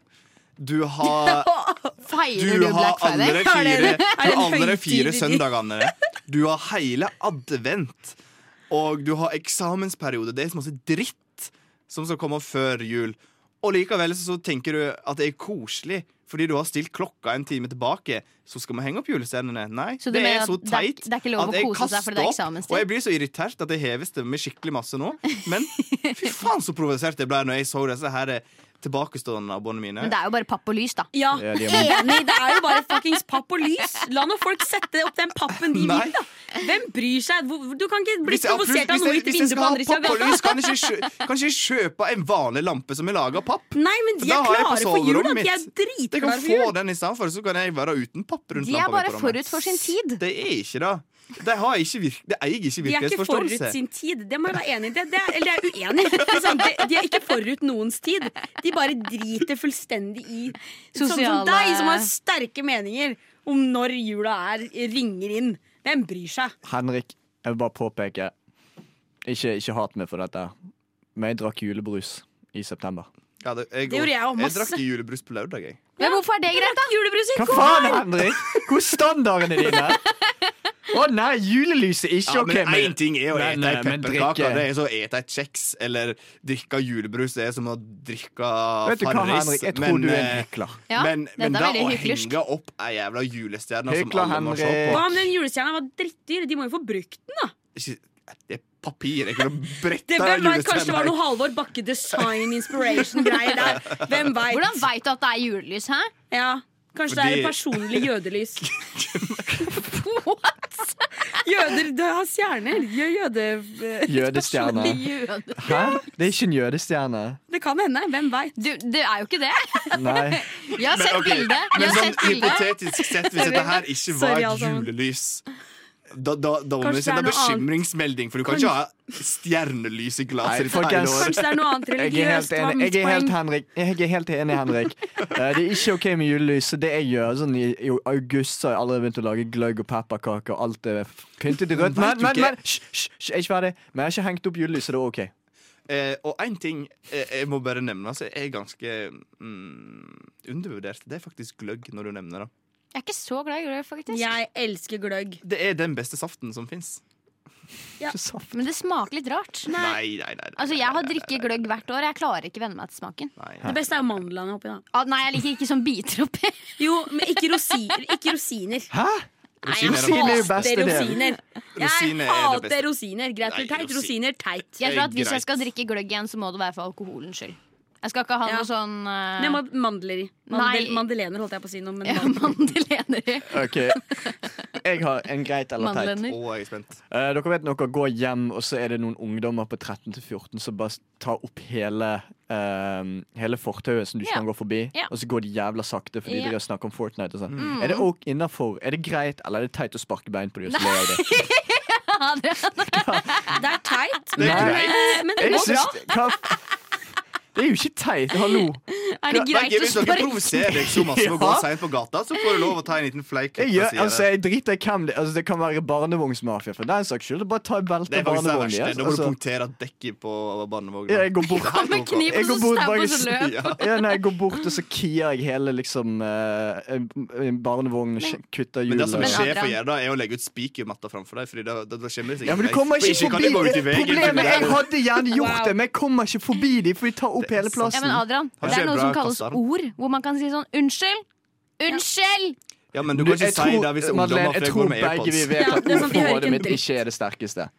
S4: Du har
S5: Feirer
S4: Du
S5: du
S4: har
S5: Black
S4: alle
S5: Friday?
S4: fire,
S6: det- er det
S4: du
S6: en
S4: har alle
S6: høytid i
S4: fire
S6: de-
S4: søndagene. Du har hele advent. Og du har eksamensperiode. Det er så masse dritt som skal komme før jul. Og likevel så tenker du at det er koselig fordi du har stilt klokka en time tilbake. Så skal vi henge opp julestjernene. Nei,
S5: Så du
S4: det
S5: mener
S4: er
S5: at
S4: så
S5: det er
S4: teit
S5: ikke- det er ikke lov å
S4: at jeg
S5: kose seg fordi det er
S4: kaster opp,
S5: eksamenstid?
S4: Og jeg blir så irritert at jeg hever stemmen min skikkelig masse nå. Men fy faen så provosert jeg ble når jeg så disse her eh, tilbakestående abonnene mine.
S5: Men det er jo bare papp og lys, da.
S6: Ja,
S2: Ja, de er-
S6: enig. Det er jo bare fuckings papp og lys. La nå folk sette opp den pappen de
S4: Nei.
S6: vil, da. Hvem bryr seg? Hvor- Du kan ikke bli
S4: Hvis jeg-
S6: provosert av
S4: hvis
S6: noe
S4: jeg-
S6: ute i
S4: hvis jeg skal
S6: vinduet på
S4: ha
S6: andre sida av
S4: papp og
S6: gata.
S4: lys, Kan jeg ikke kjø- kan jeg ikke kjøpe en vanlig lampe som er laga av papp?
S6: Nei, men
S4: For
S6: de
S4: da
S6: er
S4: har jeg på
S6: klare for jul. da.
S4: soverommet
S6: De er
S4: mitt. Jeg
S6: dritklare
S4: kan
S6: for
S4: få
S6: jul.
S4: den i stedet for, så kan jeg være uten papp rundt
S5: De er
S4: lampa mi
S5: bare
S4: på rommet.
S5: forut for sin tid.
S4: Det er ikke det. De, har ikke virk de eier ikke
S6: De er ikke forut
S4: virkelighetsforståelse.
S6: sin tid. Det må jeg være enig i. Det, det er, eller jeg er uenig. Det er sant, de, de er ikke forut noens tid. De bare driter fullstendig i Sånn som
S5: Sosiale-
S6: deg, som har sterke meninger om når jula er, ringer inn. Hvem bryr seg?
S2: Henrik, jeg vil bare påpeke Ikke, ikke hat meg for dette, men jeg drakk julebrus i september.
S4: Ja, det, jeg,
S6: Det gjorde jeg også
S4: jeg
S6: masse.
S4: drakk julebrus på lørdag, jeg.
S5: Men hvorfor er det greit, da?
S6: Julebrus i
S2: Hva faen, Henrik? Hvor er standardene dine? Å nei, julelyset er ikke
S4: Ja,
S2: OK.
S4: men én ting er å
S2: Men,
S4: ete ei
S2: eh, men
S4: pepperkake.
S2: drikke-
S4: Det er som å ete et kjeks eller drikke julebrus. Det er som å drikke
S2: Vet du hva, Henrik? Jeg tror
S4: men,
S2: du er en
S4: eh,
S2: hykler.
S5: Ja,
S4: men,
S5: dette
S4: men
S5: er
S4: da
S5: veldig
S4: å
S5: hyklersk.
S4: henge opp ei jævla julestjerne som
S2: Hykler,
S4: alle må se på
S6: Hva om den julestjerna var drittdyr? De må jo få brukt den, da.
S4: Ikke- Det er papir. Jeg kunne bretta
S6: Det, hvem vet, Kanskje det
S4: julestjerna.
S6: var noe Halvor Bakke design inspiration-greier der. Hvem vet?
S5: Hvordan veit du at det er julelys, hæ?
S6: Ja, kanskje
S4: Fordi-
S6: det er personlig jødelys. Jøder det har stjerner. Jø- Jøde...
S2: Jødestjerne. Hæ? Det er ikke en jødestjerne.
S6: Det kan hende. Hvem veit?
S5: Du, det er jo ikke det.
S2: Nei.
S5: Jeg har sett
S4: ok,
S5: bildet. Jeg
S4: Men
S5: har
S4: sånn
S5: sett bildet.
S4: hypotetisk sett, hvis dette her ikke var
S6: Sorry, alle sammen.
S4: julelys da, da, da må vi
S6: Kanskje
S4: sende
S6: det er noe annet.
S4: bekymringsmelding, for du kan ikke ha stjernelys i
S2: Nei,
S4: glasset ditt hele
S2: folkens.
S4: året.
S6: Kanskje det er noe annet
S2: Jeg er helt
S6: religiøst. var
S2: enig,
S6: mitt
S2: jeg er helt,
S6: poeng.
S2: Henrik. Jeg er helt enig, Henrik. Eh, Det er ikke OK med julelys. så Det jeg gjør sånn i, I august så har jeg allerede begynt å lage gløgg og pepperkaker. og Alt er pyntet i rødt. Men,
S4: Men vet du
S2: men,
S4: ikke-
S2: men hysj, hysj, hysj, jeg er ikke ferdig. Men jeg har ikke hengt opp julelys, så det er OK.
S4: Eh, og én ting eh, jeg må bare nevne, så jeg er ganske mm, undervurdert. Det er faktisk gløgg, når du nevner det.
S5: Jeg er ikke så glad i gløgg, faktisk.
S6: Jeg elsker gløgg.
S4: Det er den beste saften som fins.
S2: Så saft.
S5: Men det smaker litt rart.
S4: Nei, nei, nei. nei.
S5: Altså, Jeg har drikket gløgg hvert år. Jeg klarer ikke venne meg til smaken.
S4: nei.
S6: Det beste er jo mandlene oppi, da.
S5: Ah, nei, jeg liker ikke sånn biter oppi.
S6: Jo, men ikke, rosi, ikke rosiner.
S2: Hæ?
S6: jeg
S2: Rosiner er jo beste
S6: hater
S2: del.
S6: rosiner.
S4: Rosiner
S6: Jeg
S4: er det beste.
S6: hater rosiner. Greit
S4: Nei,
S6: eller teit?
S4: rosin-
S6: Rosiner teit.
S5: Jeg tror at Hvis
S4: Greit.
S5: jeg skal drikke gløgg igjen, så må det være for alkoholens skyld. Jeg skal ikke ha
S6: Ja.
S5: noe sånn eh,
S6: Men jeg må ha mandler i.
S5: Nei.
S6: Mandel, mandelener, holdt jeg på å si noe. Men
S5: ja,
S6: mandler.
S5: mandelener i.
S2: OK. Jeg har en greit eller teit.
S5: Mandlener.
S4: Å, jeg er spent.
S2: Eh, dere vet når dere går hjem, og så er det noen ungdommer på 13-14 som bare tar opp hele, eh, hele fortauet som du ikke
S5: Ja.
S2: kan gå forbi,
S5: Ja.
S2: og så går de jævla sakte fordi
S5: Ja.
S2: de har snakket om Fortnite og sånn.
S4: Mm.
S2: Er det ok innafor? Er det greit, eller er det teit å sparke bein på dem og så le av det?
S5: Ja, det er
S6: Det er teit.
S4: Det er
S2: Nei.
S4: greit.
S6: eh, Men det
S2: Jeg
S6: går bra.
S2: syns- hva? Det er jo ikke teit. Hallo.
S5: er det greit
S4: Begge,
S5: å
S4: hvis dere
S5: spørre?
S4: provoserer deg så masse med å gå
S2: Ja.
S4: seint på gata, så får du lov å ta en liten fleik.
S2: Jeg, gjør, altså, jeg driter i hvem det altså, Det kan være barnevognsmafia, for den saks skyld. Bare ta en
S4: Det
S2: belte
S4: er faktisk det
S2: barnevogn
S4: verste.
S2: i.
S4: Da må du
S2: Altså,
S4: punktere dekket på barnevogna.
S2: jeg går bort.
S4: Helt
S5: Med
S4: ok.
S5: kniv
S2: Jeg
S5: og så
S2: går bort
S5: stab
S2: bare
S5: og så løp.
S4: Ja.
S2: Ja, nei, jeg går bort og så kier jeg hele liksom eh, en- en barnevogn og skje- kutter
S4: Men altså, det som
S2: hjulet.
S5: skjer-
S4: sjefen
S5: Adrian-
S4: gjør, da, er å legge ut spikermatta framfor deg. Fordi da, da, da kommer det sikkert
S2: Ja, men du
S4: vei.
S2: kommer
S4: For
S2: ikke
S4: kan det
S2: forbi
S4: gå ut i veien, for
S2: Problemet
S4: det er
S2: Jeg
S4: jo-
S2: hadde gjerne gjort
S6: Wow.
S2: det, men jeg kommer ikke forbi de, for de tar opp hele
S5: Ja,
S2: plassen.
S5: men Adrian,
S4: Har
S5: det
S4: ikke
S5: er noe
S4: bra
S5: som kalles
S4: kastet den.
S5: ord, hvor man kan si sånn unnskyld. Unnskyld!
S4: Ja, men du kan ikke
S2: jeg
S4: si
S2: tror-
S4: det hvis
S2: Madeleine, jeg
S4: ungdommer flere
S2: tror
S4: går med
S2: begge vi
S4: airpods.
S2: vet
S6: Ja,
S2: at
S6: det er sant, vi hører
S2: ordforrådet
S6: ikke
S2: mitt
S6: en dritt.
S2: ikke er det sterkeste.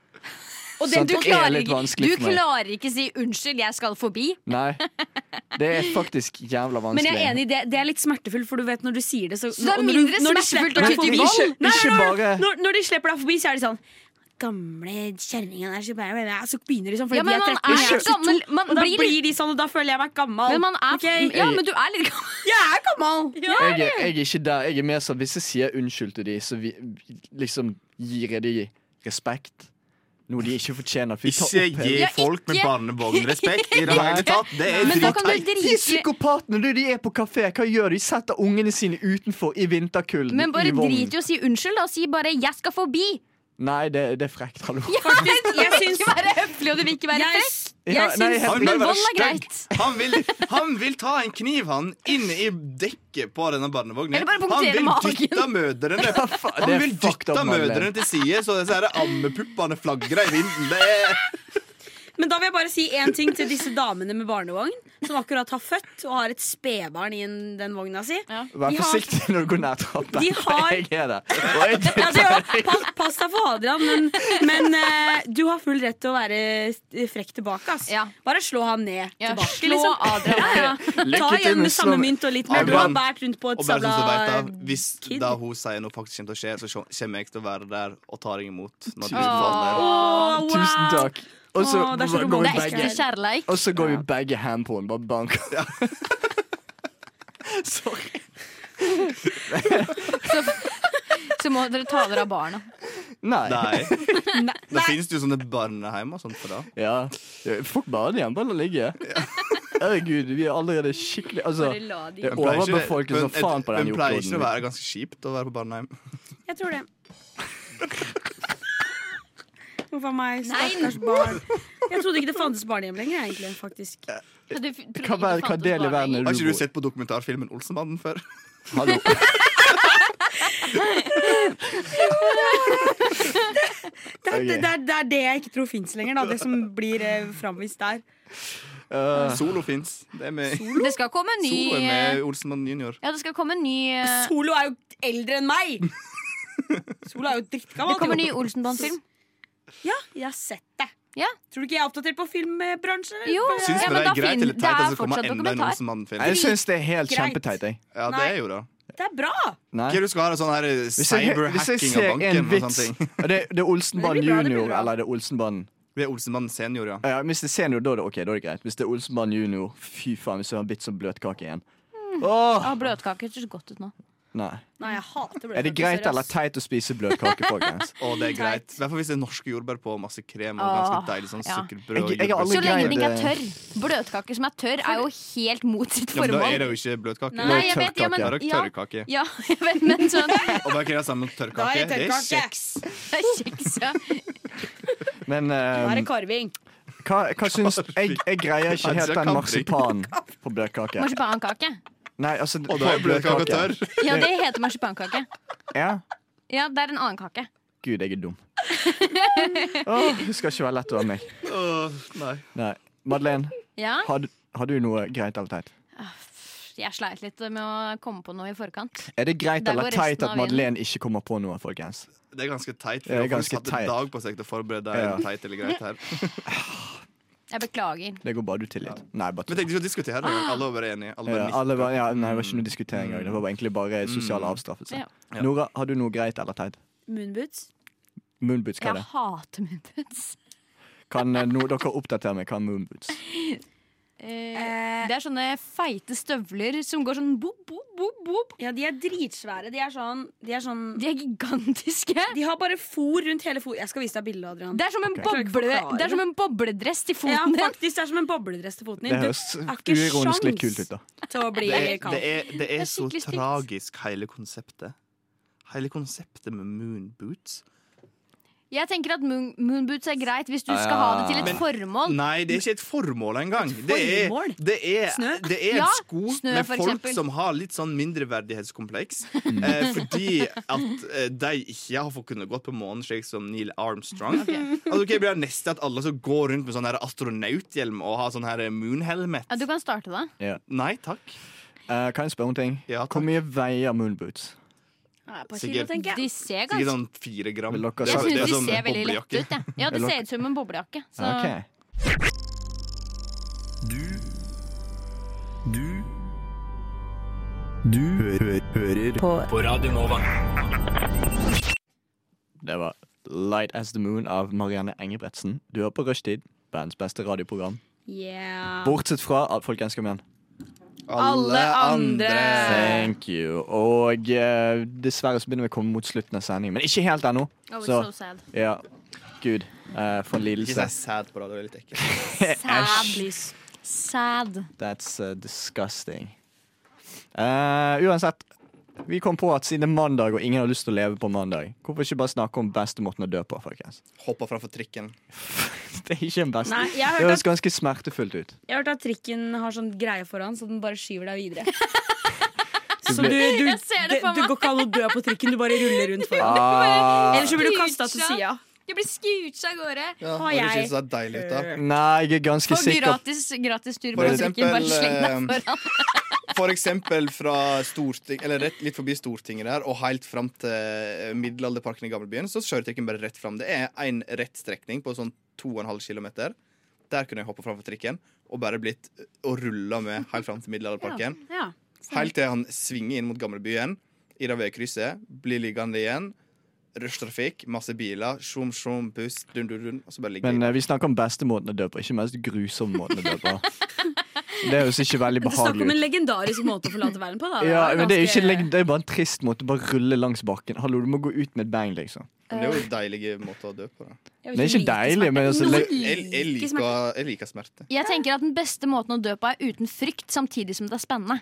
S5: Og
S2: Sant,
S5: du
S2: det er
S5: klarer,
S2: litt
S5: ikke,
S2: vanskelig
S5: du
S2: for meg.
S5: klarer ikke si 'unnskyld, jeg skal forbi'.
S2: Nei. Det er faktisk jævla vanskelig.
S6: Men jeg er enig, i det, det er litt smertefullt, for du vet når du sier det Så,
S5: det er
S6: og når du-
S5: mindre
S6: når de
S5: smertefullt
S6: slipper
S5: å
S6: deg
S5: kutte i
S6: forbi-
S2: vold?
S6: Nei,
S2: Ikke
S6: nei, nei,
S2: bare-
S6: når, når de slipper deg forbi, så er de sånn Gamle kjerringa der, så, bare, "Bæ, bæ", så begynner de sånn, fordi
S5: Ja,
S6: de
S5: men
S6: er
S5: man
S6: 13
S5: er
S6: og jeg er 22.
S5: gammel. Man
S6: Og da
S5: blir-
S6: blir de sånn, og da føler jeg meg gammel.
S5: Men man er
S6: Ok?
S5: Ja, men du er litt gammel.
S6: Jeg er gammel!
S2: Jeg, er- jeg er ikke der. Jeg er mer sånn hvis jeg sier unnskyld til de, så vi, liksom gir jeg de respekt. Noe de ikke fortjener. For de tar
S4: Ikke
S2: opp hele-
S4: gi
S5: Ja,
S4: folk med
S5: ikke-
S4: barnevogn respekt i det
S2: Nei.
S4: hele tatt. Det er
S5: Men da kan du
S4: dritteit.
S2: De er
S5: drite
S2: psykopatene! Du, de er på kafé. Hva gjør de? Setter ungene sine utenfor i vinterkulden.
S5: Men bare
S2: i vognen.
S5: drit i å si unnskyld, da. Si bare 'jeg skal forbi'.
S2: Nei, det, det er frekt. Hallo.
S6: Faktisk,
S5: Det
S6: jeg
S5: vil
S6: syns
S5: ikke være høflig, og det vil ikke være
S6: jeg,
S5: frekt.
S2: Ja,
S6: jeg
S2: nei,
S6: syns
S2: helt-
S4: vil
S5: Men
S4: bare
S5: vold er
S4: være stygg.
S5: greit.
S4: Han vil, han vil ta en kniv han inn i dekket på denne barnevognen.
S5: Eller bare
S4: han
S5: punktere
S4: vil
S5: magen.
S4: dytte mødrene
S2: Ja, faen, det
S4: Han
S2: er
S4: vil
S2: fucked up,
S4: dytte
S2: Madeleine.
S4: mødrene til side, så disse her ammepuppene flagrer i vinden. Det er
S6: Men da vil jeg bare si én ting til disse damene med barnevogn, som akkurat har født og har et spedbarn i en- den vogna si.
S2: Vær
S6: De har-
S2: forsiktig når du går nær trappen.
S6: De har-
S2: Jeg er der. Og jeg
S6: Ja, det er jo, pass, pass deg for Adrian, men, men eh, du har full rett til å være frekk tilbake. Ass.
S5: Ja.
S6: Bare slå han ned
S5: Ja,
S6: tilbake.
S5: slå Adrian.
S6: Ja, ja.
S2: Lykke
S6: Ta
S2: til
S6: igjen
S2: med
S6: med samme
S2: slå-
S6: mynt og litt mer. Du har
S4: Adrian.
S6: båret rundt på et
S4: Og bare sånn så du vet
S6: sabla
S4: det, hvis
S6: kid.
S4: da hun sier noe faktisk kommer til å skje, så kommer jeg til å være der og ta deg imot. Når du
S2: Tusen
S4: faller.
S6: Åh, wow.
S2: Tusen takk. Og så
S6: Åh, det er så
S2: går vi
S5: Det er
S6: romantisk.
S2: begge
S5: ekte kjærleik.
S2: Og så går vi begge ham på den, bare banker. Sorry.
S5: Så må dere ta dere av barna.
S2: Nei.
S4: Nei.
S6: Nei.
S4: Det finnes jo sånne barnehjem og sånt for det.
S2: Ja. Fuck bare det, bare la ligge. Herregud, vi er allerede skikkelig Altså,
S5: Bare la de
S2: det er overbefolkning som faen på den
S4: Men pleier ikke det å
S2: jordkloden.
S4: være ganske kjipt å være på barnehjem?
S6: Jeg tror det. Huff a meg,
S5: Nei.
S6: stakkars barn. Jeg trodde ikke det fantes barnehjem lenger. egentlig, faktisk.
S5: Du f-
S2: Hva,
S5: trodde ikke
S2: hva
S5: det fantes
S2: del i
S5: barn
S2: verden er du
S4: Har ikke du
S2: bor i?
S4: sett på dokumentarfilmen Olsenbanden før?
S2: Hallo.
S6: Det er,
S2: Ok.
S6: det, er, det er det jeg ikke tror fins lenger. Da, det som blir eh, framvist der.
S2: Uh,
S4: Solo fins. Det er med
S5: lenger. Det skal komme en ny
S4: Solo er med Olsenbanden junior.
S5: Ja, det skal komme en ny eh,
S6: Solo er jo eldre enn meg! Solo er jo drittgammel.
S5: Det kommer en ny
S6: jo.
S5: Olsenband-film.
S6: Ja, jeg har sett det.
S5: Ja.
S6: Tror du ikke jeg er oppdatert på filmbransjen? eller?
S5: Jo,
S4: Syns
S5: ja,
S4: vi
S5: men
S4: det
S5: da
S4: er greit
S5: fin-
S4: eller
S5: det
S4: teit
S5: er
S4: at det kommer enda
S5: fortsatt
S4: en
S5: dokumentar.
S4: Olsenbanden-film?
S2: jeg syns det er helt
S6: Greit.
S2: kjempeteit, jeg.
S4: Ja, det er jo det.
S6: Det er bra!
S2: Nei.
S4: Hva du skal ha det sånn her
S2: Hvis jeg, hvis jeg ser en
S4: cyberhacking av banken og
S2: vits
S4: sånne ting?
S2: og det, det er Olsenbanen
S6: Det blir bra, det blir
S2: junior,
S6: bra.
S2: eller det er Olsenbanen
S4: Vi er Olsenbanden senior, ja.
S2: Ja, ja, Hvis det er senior, da er det ok, da er det greit. Hvis det er Olsenbanen junior, fy faen, hvis jeg har en bit som bløtkake igjen.
S6: Mm.
S2: Åh!
S5: Ah, bløtkaker ser så godt ut nå.
S2: Nei.
S6: Nei, jeg hater bløtkake.
S2: Er det greit
S6: sorry,
S2: eller
S6: ass.
S2: teit å spise bløtkake, folkens?
S4: Å, det er greit. I hvert fall hvis det er norske jordbær på, masse krem og
S5: Åh,
S4: ganske deilig sånn
S5: ja.
S4: sukkerbrød. og
S2: Jeg- jeg har
S4: jordbær.
S2: aldri-
S5: Så lenge den ikke er
S2: det-
S5: tørr. Bløtkaker som er tørr, er jo helt mot sitt
S4: ja, men da er
S5: formål.
S4: det jo ikke bløtkake.
S5: Nei, jeg vet, ja,
S2: tørrkake.
S5: men,
S4: Da er det
S5: ja,
S4: tørrkake.
S5: ja, jeg vet, men sånn
S4: Og hva er det samme med
S6: Da
S4: tørrkake?
S6: er det
S4: Det er
S6: tørrkake.
S4: kjeks.
S5: det er kjeks, ja.
S2: Men
S6: Nå er
S2: eh,
S6: det karving.
S2: hva, hva syns jeg, jeg greier ikke helt den marsipanen på bløtkake.
S5: Marsipankake.
S2: Nei, altså
S4: Og da er bløtkake tørr.
S5: Ja, det heter marsipankake.
S2: Ja.
S5: Ja, det er en annen kake.
S2: Gud, jeg er dum. Åh, det skal ikke være lett å være meg.
S4: Åh, nei.
S2: Nei. Madeleine,
S5: Ja,
S2: har, du- har du noe greit eller teit?
S5: jeg sleit litt med å komme på noe i forkant.
S2: Er det greit
S5: Der
S2: eller
S5: går resten
S2: teit
S5: av
S2: at
S5: igjen.
S2: Madeleine ikke kommer på noe, folkens?
S4: Det er ganske teit.
S2: Det er
S4: For jeg
S2: ganske
S4: har hatt
S2: teit.
S4: en dag på seg til å forberede deg
S2: Ja.
S4: om teit eller greit her.
S5: Jeg beklager.
S2: Det går bare du til litt. Nei, bare
S4: Vi
S2: tull.
S4: tenkte ikke å diskutere det.
S5: Ah.
S4: Alle var bare enige. Alle
S2: Ja,
S4: bare
S2: alle var, ja, nei, det var ikke noe diskutering engang. Det var bare egentlig bare sosial avstraffelse.
S5: Ja.
S4: Mm. Ja.
S2: Nora, har du noe greit eller teit?
S6: Moonboots.
S2: Moonboots, hva er
S5: Jeg
S2: det?
S5: hater munnputs.
S2: Kan eh, no, dere oppdatere meg hva er moonboots?
S5: Eh, det er sånne feite støvler som går sånn bob, bob, bob, bob.
S6: Ja, de er dritsvære. De er sånn De, er sånn,
S5: De er gigantiske.
S6: de har bare fôr rundt hele fôr. Jeg skal vise deg bildet, Adrian.
S5: Det er som en,
S2: Ok.
S5: boble,
S6: Klarer ikke å forklare.
S5: det er som en bobledress til
S6: ja,
S5: foten din.
S6: faktisk, det er som en bobledress til foten din.
S2: Det
S6: Du
S2: høres
S6: har ikke
S2: uironisk litt
S6: sjans
S2: kult ut, da.
S6: til å bli
S4: Det er,
S6: kald.
S4: det er, det
S5: er
S4: er så
S5: skikkelig stygt.
S4: tragisk, hele konseptet. Hele konseptet med moon boots.
S5: Jeg tenker at moon, moonboots er greit hvis du skal
S2: Ja.
S5: ha det til et
S4: Men-
S5: formål.
S4: Nei, det er ikke et formål engang. Det er,
S6: formål?
S4: det er,
S6: Snø?
S4: det er
S5: Ja,
S4: en sko
S5: snø,
S4: med
S5: for
S4: folk
S5: eksempel.
S4: som har litt sånn mindreverdighetskompleks. Eh, fordi at eh, de ikke har fått kunne gått på månen slik som Neil Armstrong. Altså, ok, blir det neste at alle som går rundt med sånn her astronauthjelm og har sånn her moon helmet?
S5: Ja, du kan starte da.
S4: Nei takk.
S2: Eh, kan jeg spørre om en ting?
S4: Ja, takk.
S2: Hvor mye veier moonboots?
S6: Ja, et par
S4: Sikkert.
S6: kilo, tenker jeg.
S5: De ser
S4: Sikkert
S5: ganske
S4: sånn fire gram.
S2: Vil dere-
S4: Det
S5: Jeg
S4: er-
S2: så-
S4: sånn
S5: syns
S4: det er
S5: de
S4: som
S5: ser veldig
S4: boblejakke.
S5: lette ut. Ja. ja, det
S2: Eller-
S5: ser ut som en boblejakke. Så
S2: Ok.
S7: Du Du Du hø hø hører på. på Radio Nova.
S2: Det var Light as the Moon av Marianne Engebretsen. Du hører på Rushtid, verdens beste radioprogram.
S6: Yeah.
S2: Bortsett fra at folkens kom igjen.
S4: Alle andre.
S2: Thank you. Og eh, dessverre så begynner vi å komme mot slutten av sendingen, men ikke helt ennå.
S5: Oh, it's
S2: Så
S5: so sad.
S2: ja. Gud, eh, for en
S4: Ikke
S2: lidelse.
S4: si sæd på det, det er litt ekkelt.
S5: Sad. Sad.
S2: That's uh, disgusting. Eh, uansett, vi kom på at siden det er mandag og ingen har lyst til å leve på mandag, hvorfor ikke bare snakke om beste måten å dø på, folkens?
S4: Hoppa framfor trikken.
S2: Det er ikke en beste.
S6: Nei, jeg
S2: det
S6: har hørt
S2: høres ganske smertefullt ut.
S6: Jeg har hørt at trikken har sånn greie foran, så den bare skyver deg videre.
S2: Du
S6: Så du,
S2: ble-
S6: du, det,
S5: Jeg ser
S6: du
S5: det for meg.
S6: går ikke an å dø på trikken, du bare ruller rundt foran.
S2: Ah,
S6: Ellers så blir du kasta til
S5: Dritbra.
S6: sida.
S5: Du blir scoocha av gårde.
S4: Ja,
S11: Har
S4: Høres
S11: jeg-
S4: ut som det er deilig ut, da.
S2: Nei, jeg er ganske
S5: På
S2: sikker
S5: gratis, gratis tur
S4: For
S5: med trikken. Bare
S4: eksempel,
S5: sleng deg
S4: eh,
S5: foran.
S4: For eksempel fra Storting, eller rett, litt forbi Stortinget der og helt fram til eh, Middelalderparken i Gamlebyen, så kjører trikken bare rett fram. Det er én rett strekning på sånn 2,5 km. Der kunne jeg hoppa framfor trikken og bare blitt eh, og rulla med helt fram til Middelalderparken.
S11: Ja. sånn.
S4: Helt til han svinger inn mot gamlebyen, i det veikrysset, blir liggende igjen. Rushtrafikk, masse biler, sjom, sjom, buss, dun, dun, dun. Og så bare ligger
S2: Men
S4: de
S2: eh, vi snakker om beste måten å dø på, ikke mest grusomme måten å dø på. Det høres ikke veldig
S6: Det snakker om
S2: behagelig
S6: en
S2: ut.
S6: legendarisk måte å forlate verden på. Da.
S2: Ja, men det er jo
S6: ganske-
S2: ikke legg- Det er bare en trist måte. Bare rulle langs bakken. Hallo, du må gå ut med et bang, liksom.
S4: Men det er jo en deilig måte å dø på, da.
S2: Det er ikke deilig, men altså, legg-
S4: Jeg, jeg, liker, jeg liker smerte.
S5: Jeg tenker at Den beste måten å dø på er uten frykt, samtidig som det er spennende.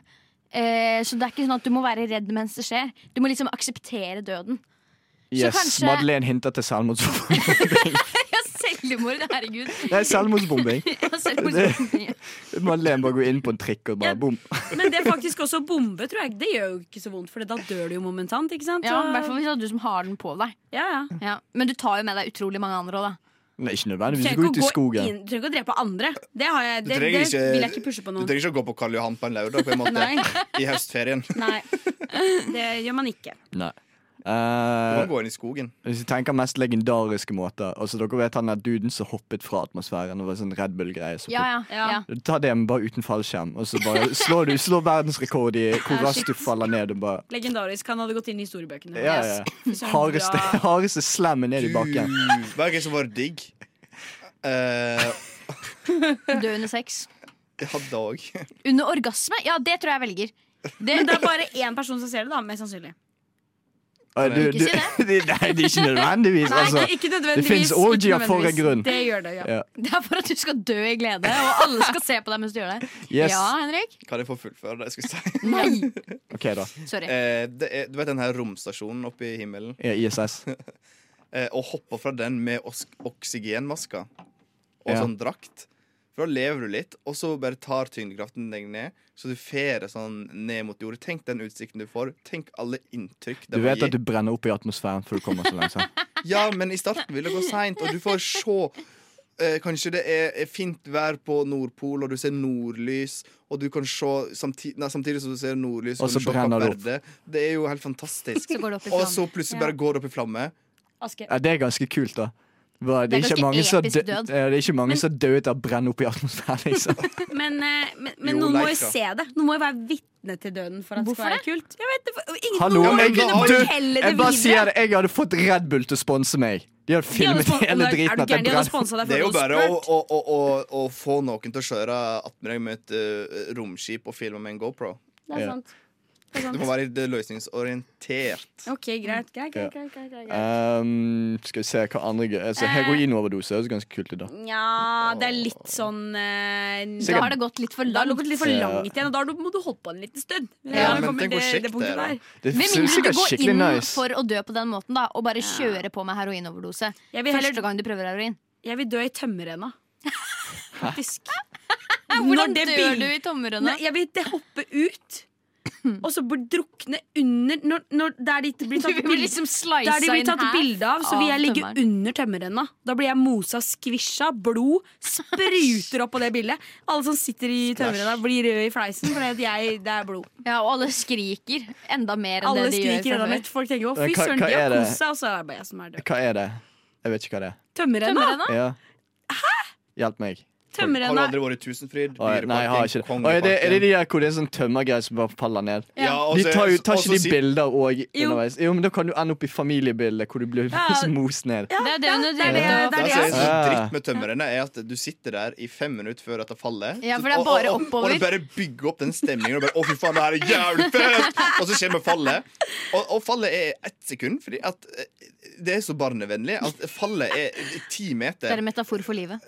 S5: Eh, så det er ikke sånn at du må være redd mens det skjer. Du må liksom akseptere døden.
S2: yes,
S5: kanskje-
S2: Madeleine hinter til selvmordsbombing.
S5: Ja, selvmord, herregud.
S2: Nei, selvmordsbombing.
S5: Ja, selvmord.
S2: Madeleine bare går inn på en trikk og bare bom.
S6: Men det er faktisk også å bombe, tror jeg. Det gjør jo ikke så vondt, for da dør du jo momentant. ikke sant?
S5: Ja, I
S6: Så-
S5: hvert fall hvis det er du som har den på deg.
S6: ja, ja.
S5: Ja. Men du tar jo med deg utrolig mange andre òg, da.
S2: Nei, ikke nødvendigvis.
S6: Trenger
S2: Gå
S6: ikke
S2: ut i
S6: å gå
S2: skogen.
S6: inn- Du trenger ikke å drepe andre. Det, har jeg,
S4: Du
S6: det, det
S4: trenger ikke-
S6: vil jeg ikke pushe på
S4: Du
S6: noen.
S4: trenger ikke å gå på Karl Johan på en lørdag på en måte,
S6: Nei.
S4: i høstferien. Du
S6: Nei, det gjør man ikke.
S2: Nei.
S4: må
S2: Eh,
S4: gå inn i skogen.
S2: hvis jeg tenker mest legendariske måter Altså, Dere vet han der duden som hoppet fra atmosfæren? Og var sånn Red Bull-greie så
S5: Ja, ja,
S6: Ja.
S5: ja.
S2: Ta det, men bare uten fallskjerm. Og så bare slår du slår verdensrekord i hvor raskt du faller ned. Og bare
S6: Legendarisk. Han hadde gått inn i historiebøkene.
S2: ja, ja. Hardeste, hardeste slammen ned i bakken.
S4: Du, hva er det som var digg? Eh,
S5: Dø under sex.
S4: jeg hadde òg.
S5: Under orgasme? Ja, det tror jeg velger. Det,
S6: Men det er bare én person som ser det, da, mest sannsynlig.
S2: Ah, Du, du, nei, det er ikke nødvendigvis. Altså.
S6: ikke
S2: det finnes orgier for en grunn.
S6: Det gjør det, ja.
S2: Ja.
S5: det er for at du skal dø i glede, og alle skal se på deg mens du gjør det.
S2: Yes.
S5: Ja, Henrik?
S4: Kan jeg få fullføre det jeg skulle si?
S5: Nei.
S2: OK, da.
S5: Sorry.
S4: Eh, det er, du vet den her romstasjonen oppe i himmelen?
S2: Ja, ISS.
S4: eh, og hopper fra den med os- oksygenmaska og
S2: Ja.
S4: sånn drakt. For da lever du litt, og så bare tar tyngdekraften deg ned, så du fer det sånn ned mot jorda. Tenk den utsikten du får. Tenk alle inntrykk det
S2: Du
S4: må
S2: vet
S4: gi.
S2: at du brenner opp i atmosfæren før du kommer så langt. sant?
S4: Ja, men i starten vil det gå seint, og du får se eh, Kanskje det er er fint vær på Nordpol, og du ser nordlys, og du kan se samtidig, nei, samtidig som du ser nordlys,
S2: Og
S4: kan
S2: så
S4: du se
S2: brenner det
S4: Kapp Verde. Det er jo helt fantastisk.
S5: Så går det opp i
S4: Og
S5: flamme.
S4: så plutselig bare går det opp i flamme.
S6: Aske.
S2: Ja, det er ganske kult, da. Bare, det,
S5: Det
S2: er
S5: er
S2: ikke
S5: ganske
S2: mange som
S5: episk
S2: dø,
S5: død.
S2: ja, det er ikke mange som døde av å brenne opp i atmosfæren. Liksom.
S6: Men, eh, men, men
S4: Jo,
S6: noen må
S4: Leif,
S6: jo
S4: da.
S6: se det. Noen må jo være vitne til døden for at det
S5: Hvorfor
S6: skal være kult. Jeg vet, det, for- ingen
S2: Hallo,
S6: noen må
S2: jeg,
S6: kunne
S4: du,
S6: fortelle det
S2: jeg bare sier
S6: videre.
S2: det, jeg hadde fått Red Bull til å sponse meg. De hadde
S6: De hadde
S2: filmet
S6: spon-
S2: hele
S6: Nei,
S2: driten
S6: er
S2: at
S6: du
S2: jeg
S6: gæren? De hadde
S2: brenner.
S6: sponset deg
S4: Det er jo
S6: for
S4: bare å,
S6: å
S4: å, å, å, å få noen til å kjøre attmed deg med et eh, romskip og filme med en GoPro.
S5: Det
S2: Ja.
S5: er sant.
S4: Du må være litt løsningsorientert.
S6: Ok, greit. greit, greit, greit, greit, greit.
S2: Um, skal vi se hva andre gøy altså,
S6: Eh.
S2: Heroinoverdose høres ganske kult ut, da.
S6: Nja, det er litt sånn eh,
S5: Da
S2: Sikkert.
S5: har det gått litt for
S6: Da har det
S5: langt.
S6: gått litt for langt igjen, og da har du- må du holde på en liten stund.
S4: Ja,
S6: Da
S4: men
S6: kommer
S4: tenk hvor kjekt
S6: punktet
S4: det er, da.
S6: der.
S2: Det
S5: Med
S2: synes
S5: mindre
S2: jeg
S5: du
S2: er
S5: går
S2: skikkelig
S5: inn
S2: nice.
S5: for å dø på den måten, da, og bare kjøre på med heroinoverdose.
S6: Jeg vil heller
S5: Første gang du prøver heroin.
S6: Jeg vil dø i tømmerrenna. Faktisk.
S5: Hvordan
S6: Når det
S5: dør
S6: bil-
S5: du i tommerønna?
S6: Nei, jeg vil det hoppe ut, og så bli drukne under når, når, Der de ikke blir
S5: Du
S6: tatt
S5: vil
S6: bilde
S5: liksom slice
S6: der de blir
S5: inn
S6: tatt
S5: her.
S6: bilde av, så vil jeg
S5: av
S6: ligge
S5: tømmeren.
S6: under tømmerrenna. Da blir jeg mosa, skvisja, blod spruter opp på det bildet. Alle som sitter i tømmerrenna, blir røde i fleisen fordi at jeg, det er blod.
S5: Ja, og alle skriker enda mer enn
S6: Alle
S5: det de gjør
S6: skriker
S5: fra
S6: enda
S5: før.
S6: mitt. Folk tenker 'å,
S2: Men
S6: fy
S2: hva-
S6: søren,
S2: hva
S6: de har
S2: er det?
S6: kost seg', og så er det bare jeg som er død.
S2: Hva er det? Jeg vet ikke hva det er.
S6: Tømmerrenna?
S5: Tømmerrenna?
S2: Ja. Hjelp meg.
S4: Har du
S6: Tømmerrenna.
S4: aldri vært i Tusenfryd?
S2: Å, nei, jeg har ikke det. Å, er det. Er det de der hvor det er sånn tømmergreier som bare faller ned?
S4: Ja, og
S2: De
S4: så-
S2: tar, jo, tar
S4: og så
S2: ikke de
S4: si-
S2: bilder òg
S6: Jo.
S2: underveis? Jo, men da kan du ende opp i familiebildet hvor du blir
S6: Ja.
S2: most ned.
S6: Ja,
S5: Det er det
S6: ja,
S5: hun
S6: det er det,
S5: driver
S6: det,
S4: Det
S6: er det
S4: som
S6: jeg
S4: er så sånn, dritt med tømmerne, er at du sitter der i fem minutter før at det faller.
S5: Ja, for det er
S4: Og-
S5: bare
S4: og- og-
S5: oppover.
S4: Og det bare bygger opp den stemningen. Og bare, å fy faen, det her er jævlig fett Og så kommer fallet. Og, og fallet er ett sekund, fordi at eh, det er så barnevennlig at fallet er ti meter.
S5: Det er en metafor for livet.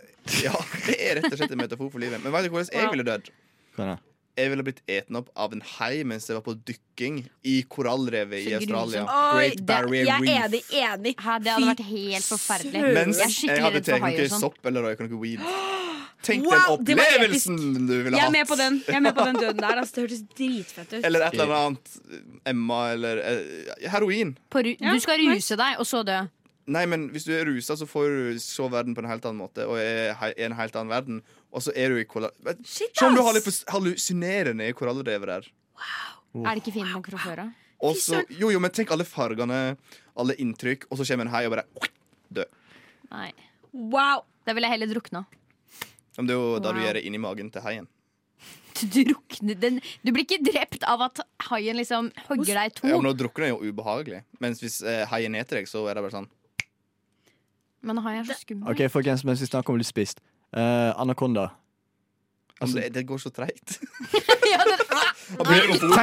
S4: Ja, det er rett og slett en metafor for livet. Men vet du hvordan jeg ville dødd?
S2: Kan jeg?
S4: Jeg ville blitt eten opp av en hai mens jeg var på dykking i korallrevet i
S5: Så
S4: Australia.
S5: grusomt.
S6: Oi,
S4: Great
S6: det-
S4: Barrier
S6: Jeg er
S4: Reef.
S6: enig. enig.
S5: Hæ, det
S6: Fy
S5: hadde vært helt forferdelig.
S6: søren.
S4: Mens
S5: jeg er
S4: jeg
S5: skikkelig
S4: hadde
S5: redd for hai
S4: ikke
S5: og sånn.
S4: sopp eller røykonokke weed. Tenk
S6: Wow,
S4: den
S6: det var episk.
S4: opplevelsen du ville
S6: Jeg er med
S4: hatt.
S6: på den, jeg er med på den døden der. Altså, det hørtes dritfett ut.
S4: Eller et eller annet Emma eller eh, heroin.
S5: På ru- Du skal ruse deg, og så dø.
S4: Nei, men hvis du er rusa, så får du se verden på en helt annen måte, og er he- i en helt annen verden, og så er du i kolla... Vet- Se om du har litt på s- hallusinerende i korallrever her.
S5: Er det ikke fint nok fra før av?
S4: Og så, jo, jo, men tenk alle fargene, alle inntrykk, og så kommer en hei og bare død.
S5: Nei. Wow! Da vil jeg heller drukne.
S4: Men det er jo da du
S5: Wow.
S4: gjør det inni magen til heien.
S5: Du drukner den Du blir ikke drept av at haien liksom hogger deg i
S4: Ja, men
S5: to.
S4: Nå drukner det jo ubehagelig. Mens hvis eh, heien eter deg, så er det bare sånn
S5: Men haien er så skummel.
S2: OK, folkens, mens vi snakker om å bli spist. Eh, Anakonda.
S4: Altså, det, det går så treigt.
S2: Tenk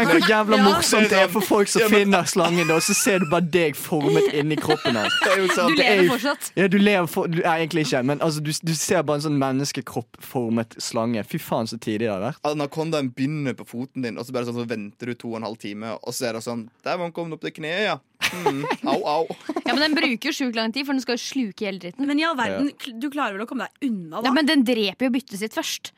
S2: hvor jævla
S4: Ja.
S2: morsomt det er for folk som
S4: Ja, men-
S2: finner slangen, da, og så ser du bare deg formet inni kroppen hans.
S4: Det er jo sånn sant.
S5: Du
S2: Det er
S5: lever
S2: jo-
S5: fortsatt.
S2: Ja, du lever for, du, nei, egentlig ikke, men altså, du, du ser bare en sånn menneskekroppformet slange. Fy faen, så tidlig det har vært.
S4: Anakondaen begynner på foten din, og så bare sånn, så venter du to og en halv time, og så er det sånn Der var han kommet opp til kneet, ja. Mm, au, au.
S5: Ja, men den bruker jo sjukt lang tid, for den skal jo sluke hele dritten.
S10: Men i all verden, kl- du klarer vel å komme deg unna, da?
S5: Ja, men den dreper jo byttet sitt først.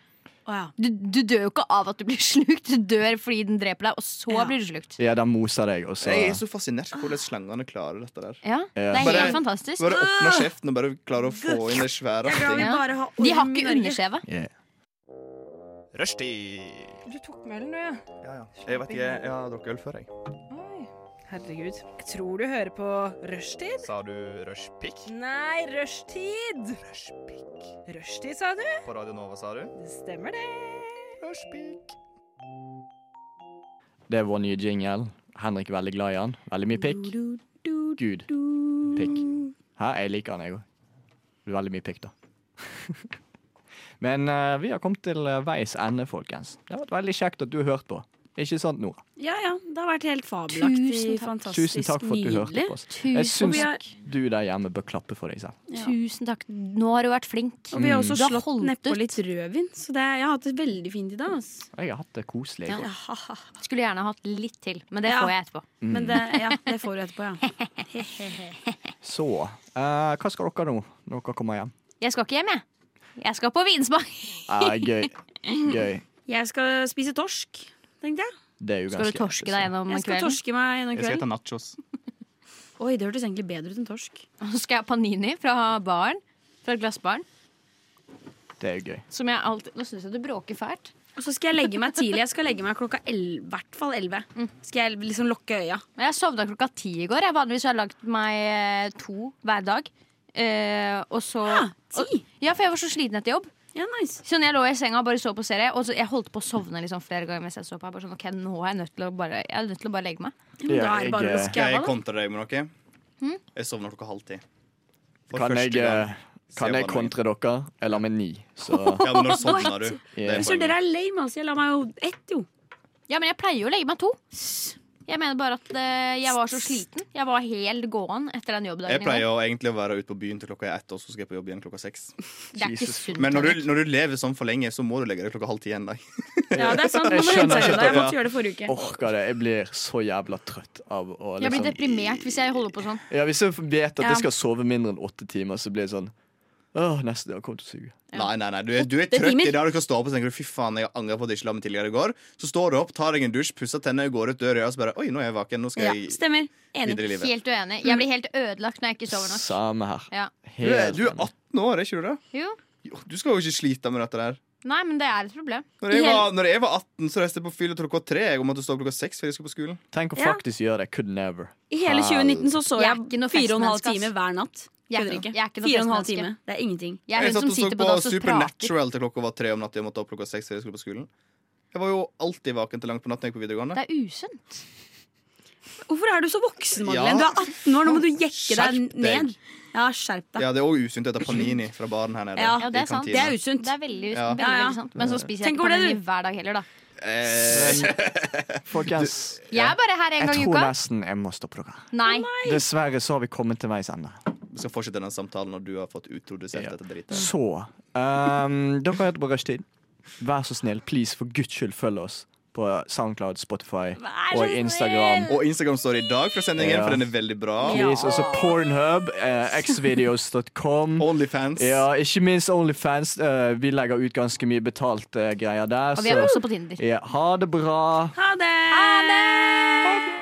S10: Å, ja.
S5: Du, du dør jo ikke av at du blir slukt, du dør fordi den dreper deg, og så
S10: Ja.
S5: blir du slukt.
S2: Ja, den moser deg, og så
S4: Jeg er så fascinert på hvordan slangene klarer dette der.
S5: Ja, Det er
S4: Bare-
S5: helt fantastisk.
S4: Bare åpne kjeften og bare klare å få inn det svære.
S6: Jeg er glad vi
S4: ting.
S6: bare har
S5: De har
S6: orm i
S5: ikke
S6: Norge.
S5: underskjeve.
S2: yeah.
S1: Rushtid.
S8: Du tok melen, du, ja.
S4: Jeg vet ikke, jeg, jeg har drukket øl før, jeg.
S8: Oi. Herregud. Jeg tror du hører på rushtid.
S1: Sa du rushpick?
S8: Nei, rushtid!
S1: Rushpick.
S8: Rushtid, sa du?
S1: På Radio Nova, sa du?
S8: Det stemmer, det.
S1: Rushpick.
S2: Det er vår nye jingle. Henrik er veldig glad i han. Veldig mye pikk. Gud. Pikk. Hæ? Jeg liker han, jeg òg. Veldig mye pikk, da. Men eh, vi har kommet til eh, veis ende, folkens. Det har vært veldig kjekt at du har hørt på. Ikke sant, Nora?
S10: ja, ja. Det har vært helt fabelaktig.
S5: Tusen takk.
S10: Fantastisk.
S2: Tusen takk for at du hørte
S5: nydelig.
S2: på oss.
S5: Tusen
S2: Jeg syns
S5: takk.
S2: du der hjemme bør klappe for deg selv.
S10: Ja.
S5: Tusen takk. Nå har du vært flink.
S10: Og vi har også
S5: Du har
S10: slått
S5: holdt
S10: nedpå
S5: ut.
S10: litt rødvin, så det, jeg har hatt det veldig fint i dag. Altså.
S2: Jeg har hatt det koselig. i
S5: Ja.
S2: går.
S5: Skulle gjerne hatt litt til, men det
S10: Ja.
S5: får jeg etterpå.
S2: Mm.
S10: Men det, ja, det får du etterpå, ja.
S2: Så eh, hva skal dere nå når dere kommer hjem?
S5: Jeg skal ikke hjem, jeg. Jeg skal på vinsmak.
S2: Eh, gøy. Gøy.
S10: Jeg skal spise torsk, tenkte jeg.
S2: Det er jo
S5: Skal
S2: ganske
S5: du torske deg gjennom
S10: Jeg skal
S5: kvelden?
S10: torske meg gjennom
S4: Jeg skal
S10: kvelden.
S4: hete nachos.
S10: Oi, det hørtes egentlig bedre ut enn torsk.
S5: Og så skal jeg ha panini fra baren. Fra glassbaren.
S2: Det er jo gøy.
S5: Som jeg alltid Nå syns jeg du bråker fælt.
S10: Og så skal jeg legge meg tidlig. Jeg skal legge meg klokka i hvert fall elleve. Skal jeg liksom lukke øya.
S5: Men jeg sovna klokka ti i går. Jeg vanligvis har lagt meg eh, to hver dag. Eh, og så
S10: Ah. ti?
S5: Og, ja, for jeg var så sliten etter jobb.
S10: Ja, nice.
S5: Så når jeg lå i senga og bare så på serie, og så jeg holdt på å sovne liksom flere ganger mens jeg så på, jeg bare sånn, ok, nå er jeg nødt til å bare, jeg er nødt til å bare legge meg.
S10: Men da er det bare å
S2: jeg, eh,
S10: lukke
S4: Skal jeg
S10: øya, da.
S4: kontre deg med noe? Jeg sovner klokka halv ti. For
S2: kan
S4: første
S2: jeg,
S4: gang.
S2: eh, kan jeg kontre dere? Jeg la meg ni, så
S4: Ja, men når sovner du? Det
S2: Yeah.
S4: er
S10: Jeg tror
S4: poenget.
S10: dere er lame, altså. Jeg la meg jo ett, jo.
S5: Ja, men jeg pleier jo å legge meg to. Jeg mener bare at eh, jeg var så sliten. Jeg var helt gåen etter den
S4: Jeg
S5: jobbdagen. i går.
S4: pleier jo egentlig å være ute på byen til klokka er ett, og så skal jeg på jobb igjen klokka seks.
S5: Det er ikke
S2: Jesus.
S5: sunt.
S4: Men når du,
S5: Henrik.
S4: når du lever sånn for lenge, så må du legge deg klokka halv ti en dag.
S10: Ja, det er sant. Nå må
S2: Jeg
S10: du hente
S2: skjønner
S10: seg
S2: ikke
S10: unna. Jeg
S2: at-
S10: måtte gjøre det forrige uke.
S2: orker det. Jeg blir så jævla trøtt av å
S5: Jeg blir
S2: liksom
S5: deprimert hvis jeg holder på sånn.
S2: ja, Hvis jeg vet at
S10: Ja.
S2: jeg skal sove mindre enn åtte timer, så blir det sånn Åh, neste dag kommer til å suge.
S4: Nei, nei, nei, du er, du er
S10: er
S4: trøtt
S10: timer.
S4: i dag. Du kan stå opp og tenke fy faen, jeg angrer på at jeg ikke la meg tidligere i går. Så står du opp, tar deg en dusj, pusser tennene, går ut døra, og så bare oi, nå er jeg vaken. Nå skal
S10: Ja,
S4: jeg
S10: stemmer. Enig.
S4: videre i livet.
S5: Helt uenig. Jeg blir helt ødelagt når jeg ikke sover nok.
S2: Samme her.
S5: Ja.
S4: Du er, du er 18 år, er ikke du det?
S5: Jo.
S4: Jo, Du skal jo ikke slite med dette der.
S5: Nei, men det er et problem.
S4: Når jeg var, når jeg var 18, så reiste jeg på fyll til klokka tre. Jeg måtte stå opp klokka seks før jeg skulle på skolen.
S2: Tenk å
S10: Ja.
S2: faktisk gjøre det. Could never.
S10: I hele 2019 så så
S5: Jeg er
S10: jeg
S5: ikke noe
S10: fire og en halv
S5: festmenneske, ass.
S10: time hver natt.
S5: Jeg er
S10: Kødder
S5: ikke noe-
S10: ikke.
S5: jeg er ikke
S10: Fire og
S5: noe
S10: en halv
S5: festmenneske.
S10: time. Det er ingenting.
S5: Jeg er
S4: Jeg
S5: hun
S4: satt
S5: som
S4: og så
S5: sitter på
S4: på
S5: dass og prater.
S4: Supernatural til klokka var tre om natta. Jeg måtte opp klokka seks før jeg skulle på skolen. Jeg var jo alltid vaken til langt på natten jeg gikk på videregående.
S5: Det er usunt.
S10: Hvorfor er du så voksen, Madeleine?
S4: Ja.
S10: Du er 18 år, nå må du jekke deg
S4: Skjerp deg.
S10: ned. Ja, skjerp deg.
S4: Ja, det er òg usunt å spise panini fra baren her nede.
S10: Ja,
S5: Ja, det
S4: i
S5: er sant.
S4: kantina.
S10: Det er usunt.
S5: Det er veldig,
S4: Ja.
S5: veldig,
S10: Ja, ja.
S5: veldig sant. Men så spiser jeg
S10: Tenk
S5: ikke
S10: over det,
S5: panini
S10: du.
S5: hver dag heller, da.
S4: Eh,
S2: Folkens,
S5: Jeg er bare her en
S2: jeg
S5: gang i
S2: tror
S5: uka.
S2: nesten jeg må stoppe dere.
S5: Nei.
S2: Dessverre så har vi kommet til veis ende.
S4: vi skal fortsette denne samtalen når du har fått utrodusert
S2: Ja.
S4: dette dritet.
S2: Så ehm, Dere hørte på Rushtid. Vær så snill, please, for guds skyld, følg oss på SoundCloud, Spotify og Instagram.
S4: Og Instagram står i dag fra sendingen,
S2: Ja.
S4: for den er veldig bra.
S2: Please, også Pornhub, eh, xvideos.com.
S4: Onlyfans.
S2: Ja, ikke minst Onlyfans. Eh, vi legger ut ganske mye betalt eh, greier der.
S5: Og vi er
S2: så-
S5: også på Tinder.
S2: ja, ha det bra.
S10: Ha det! Ha det!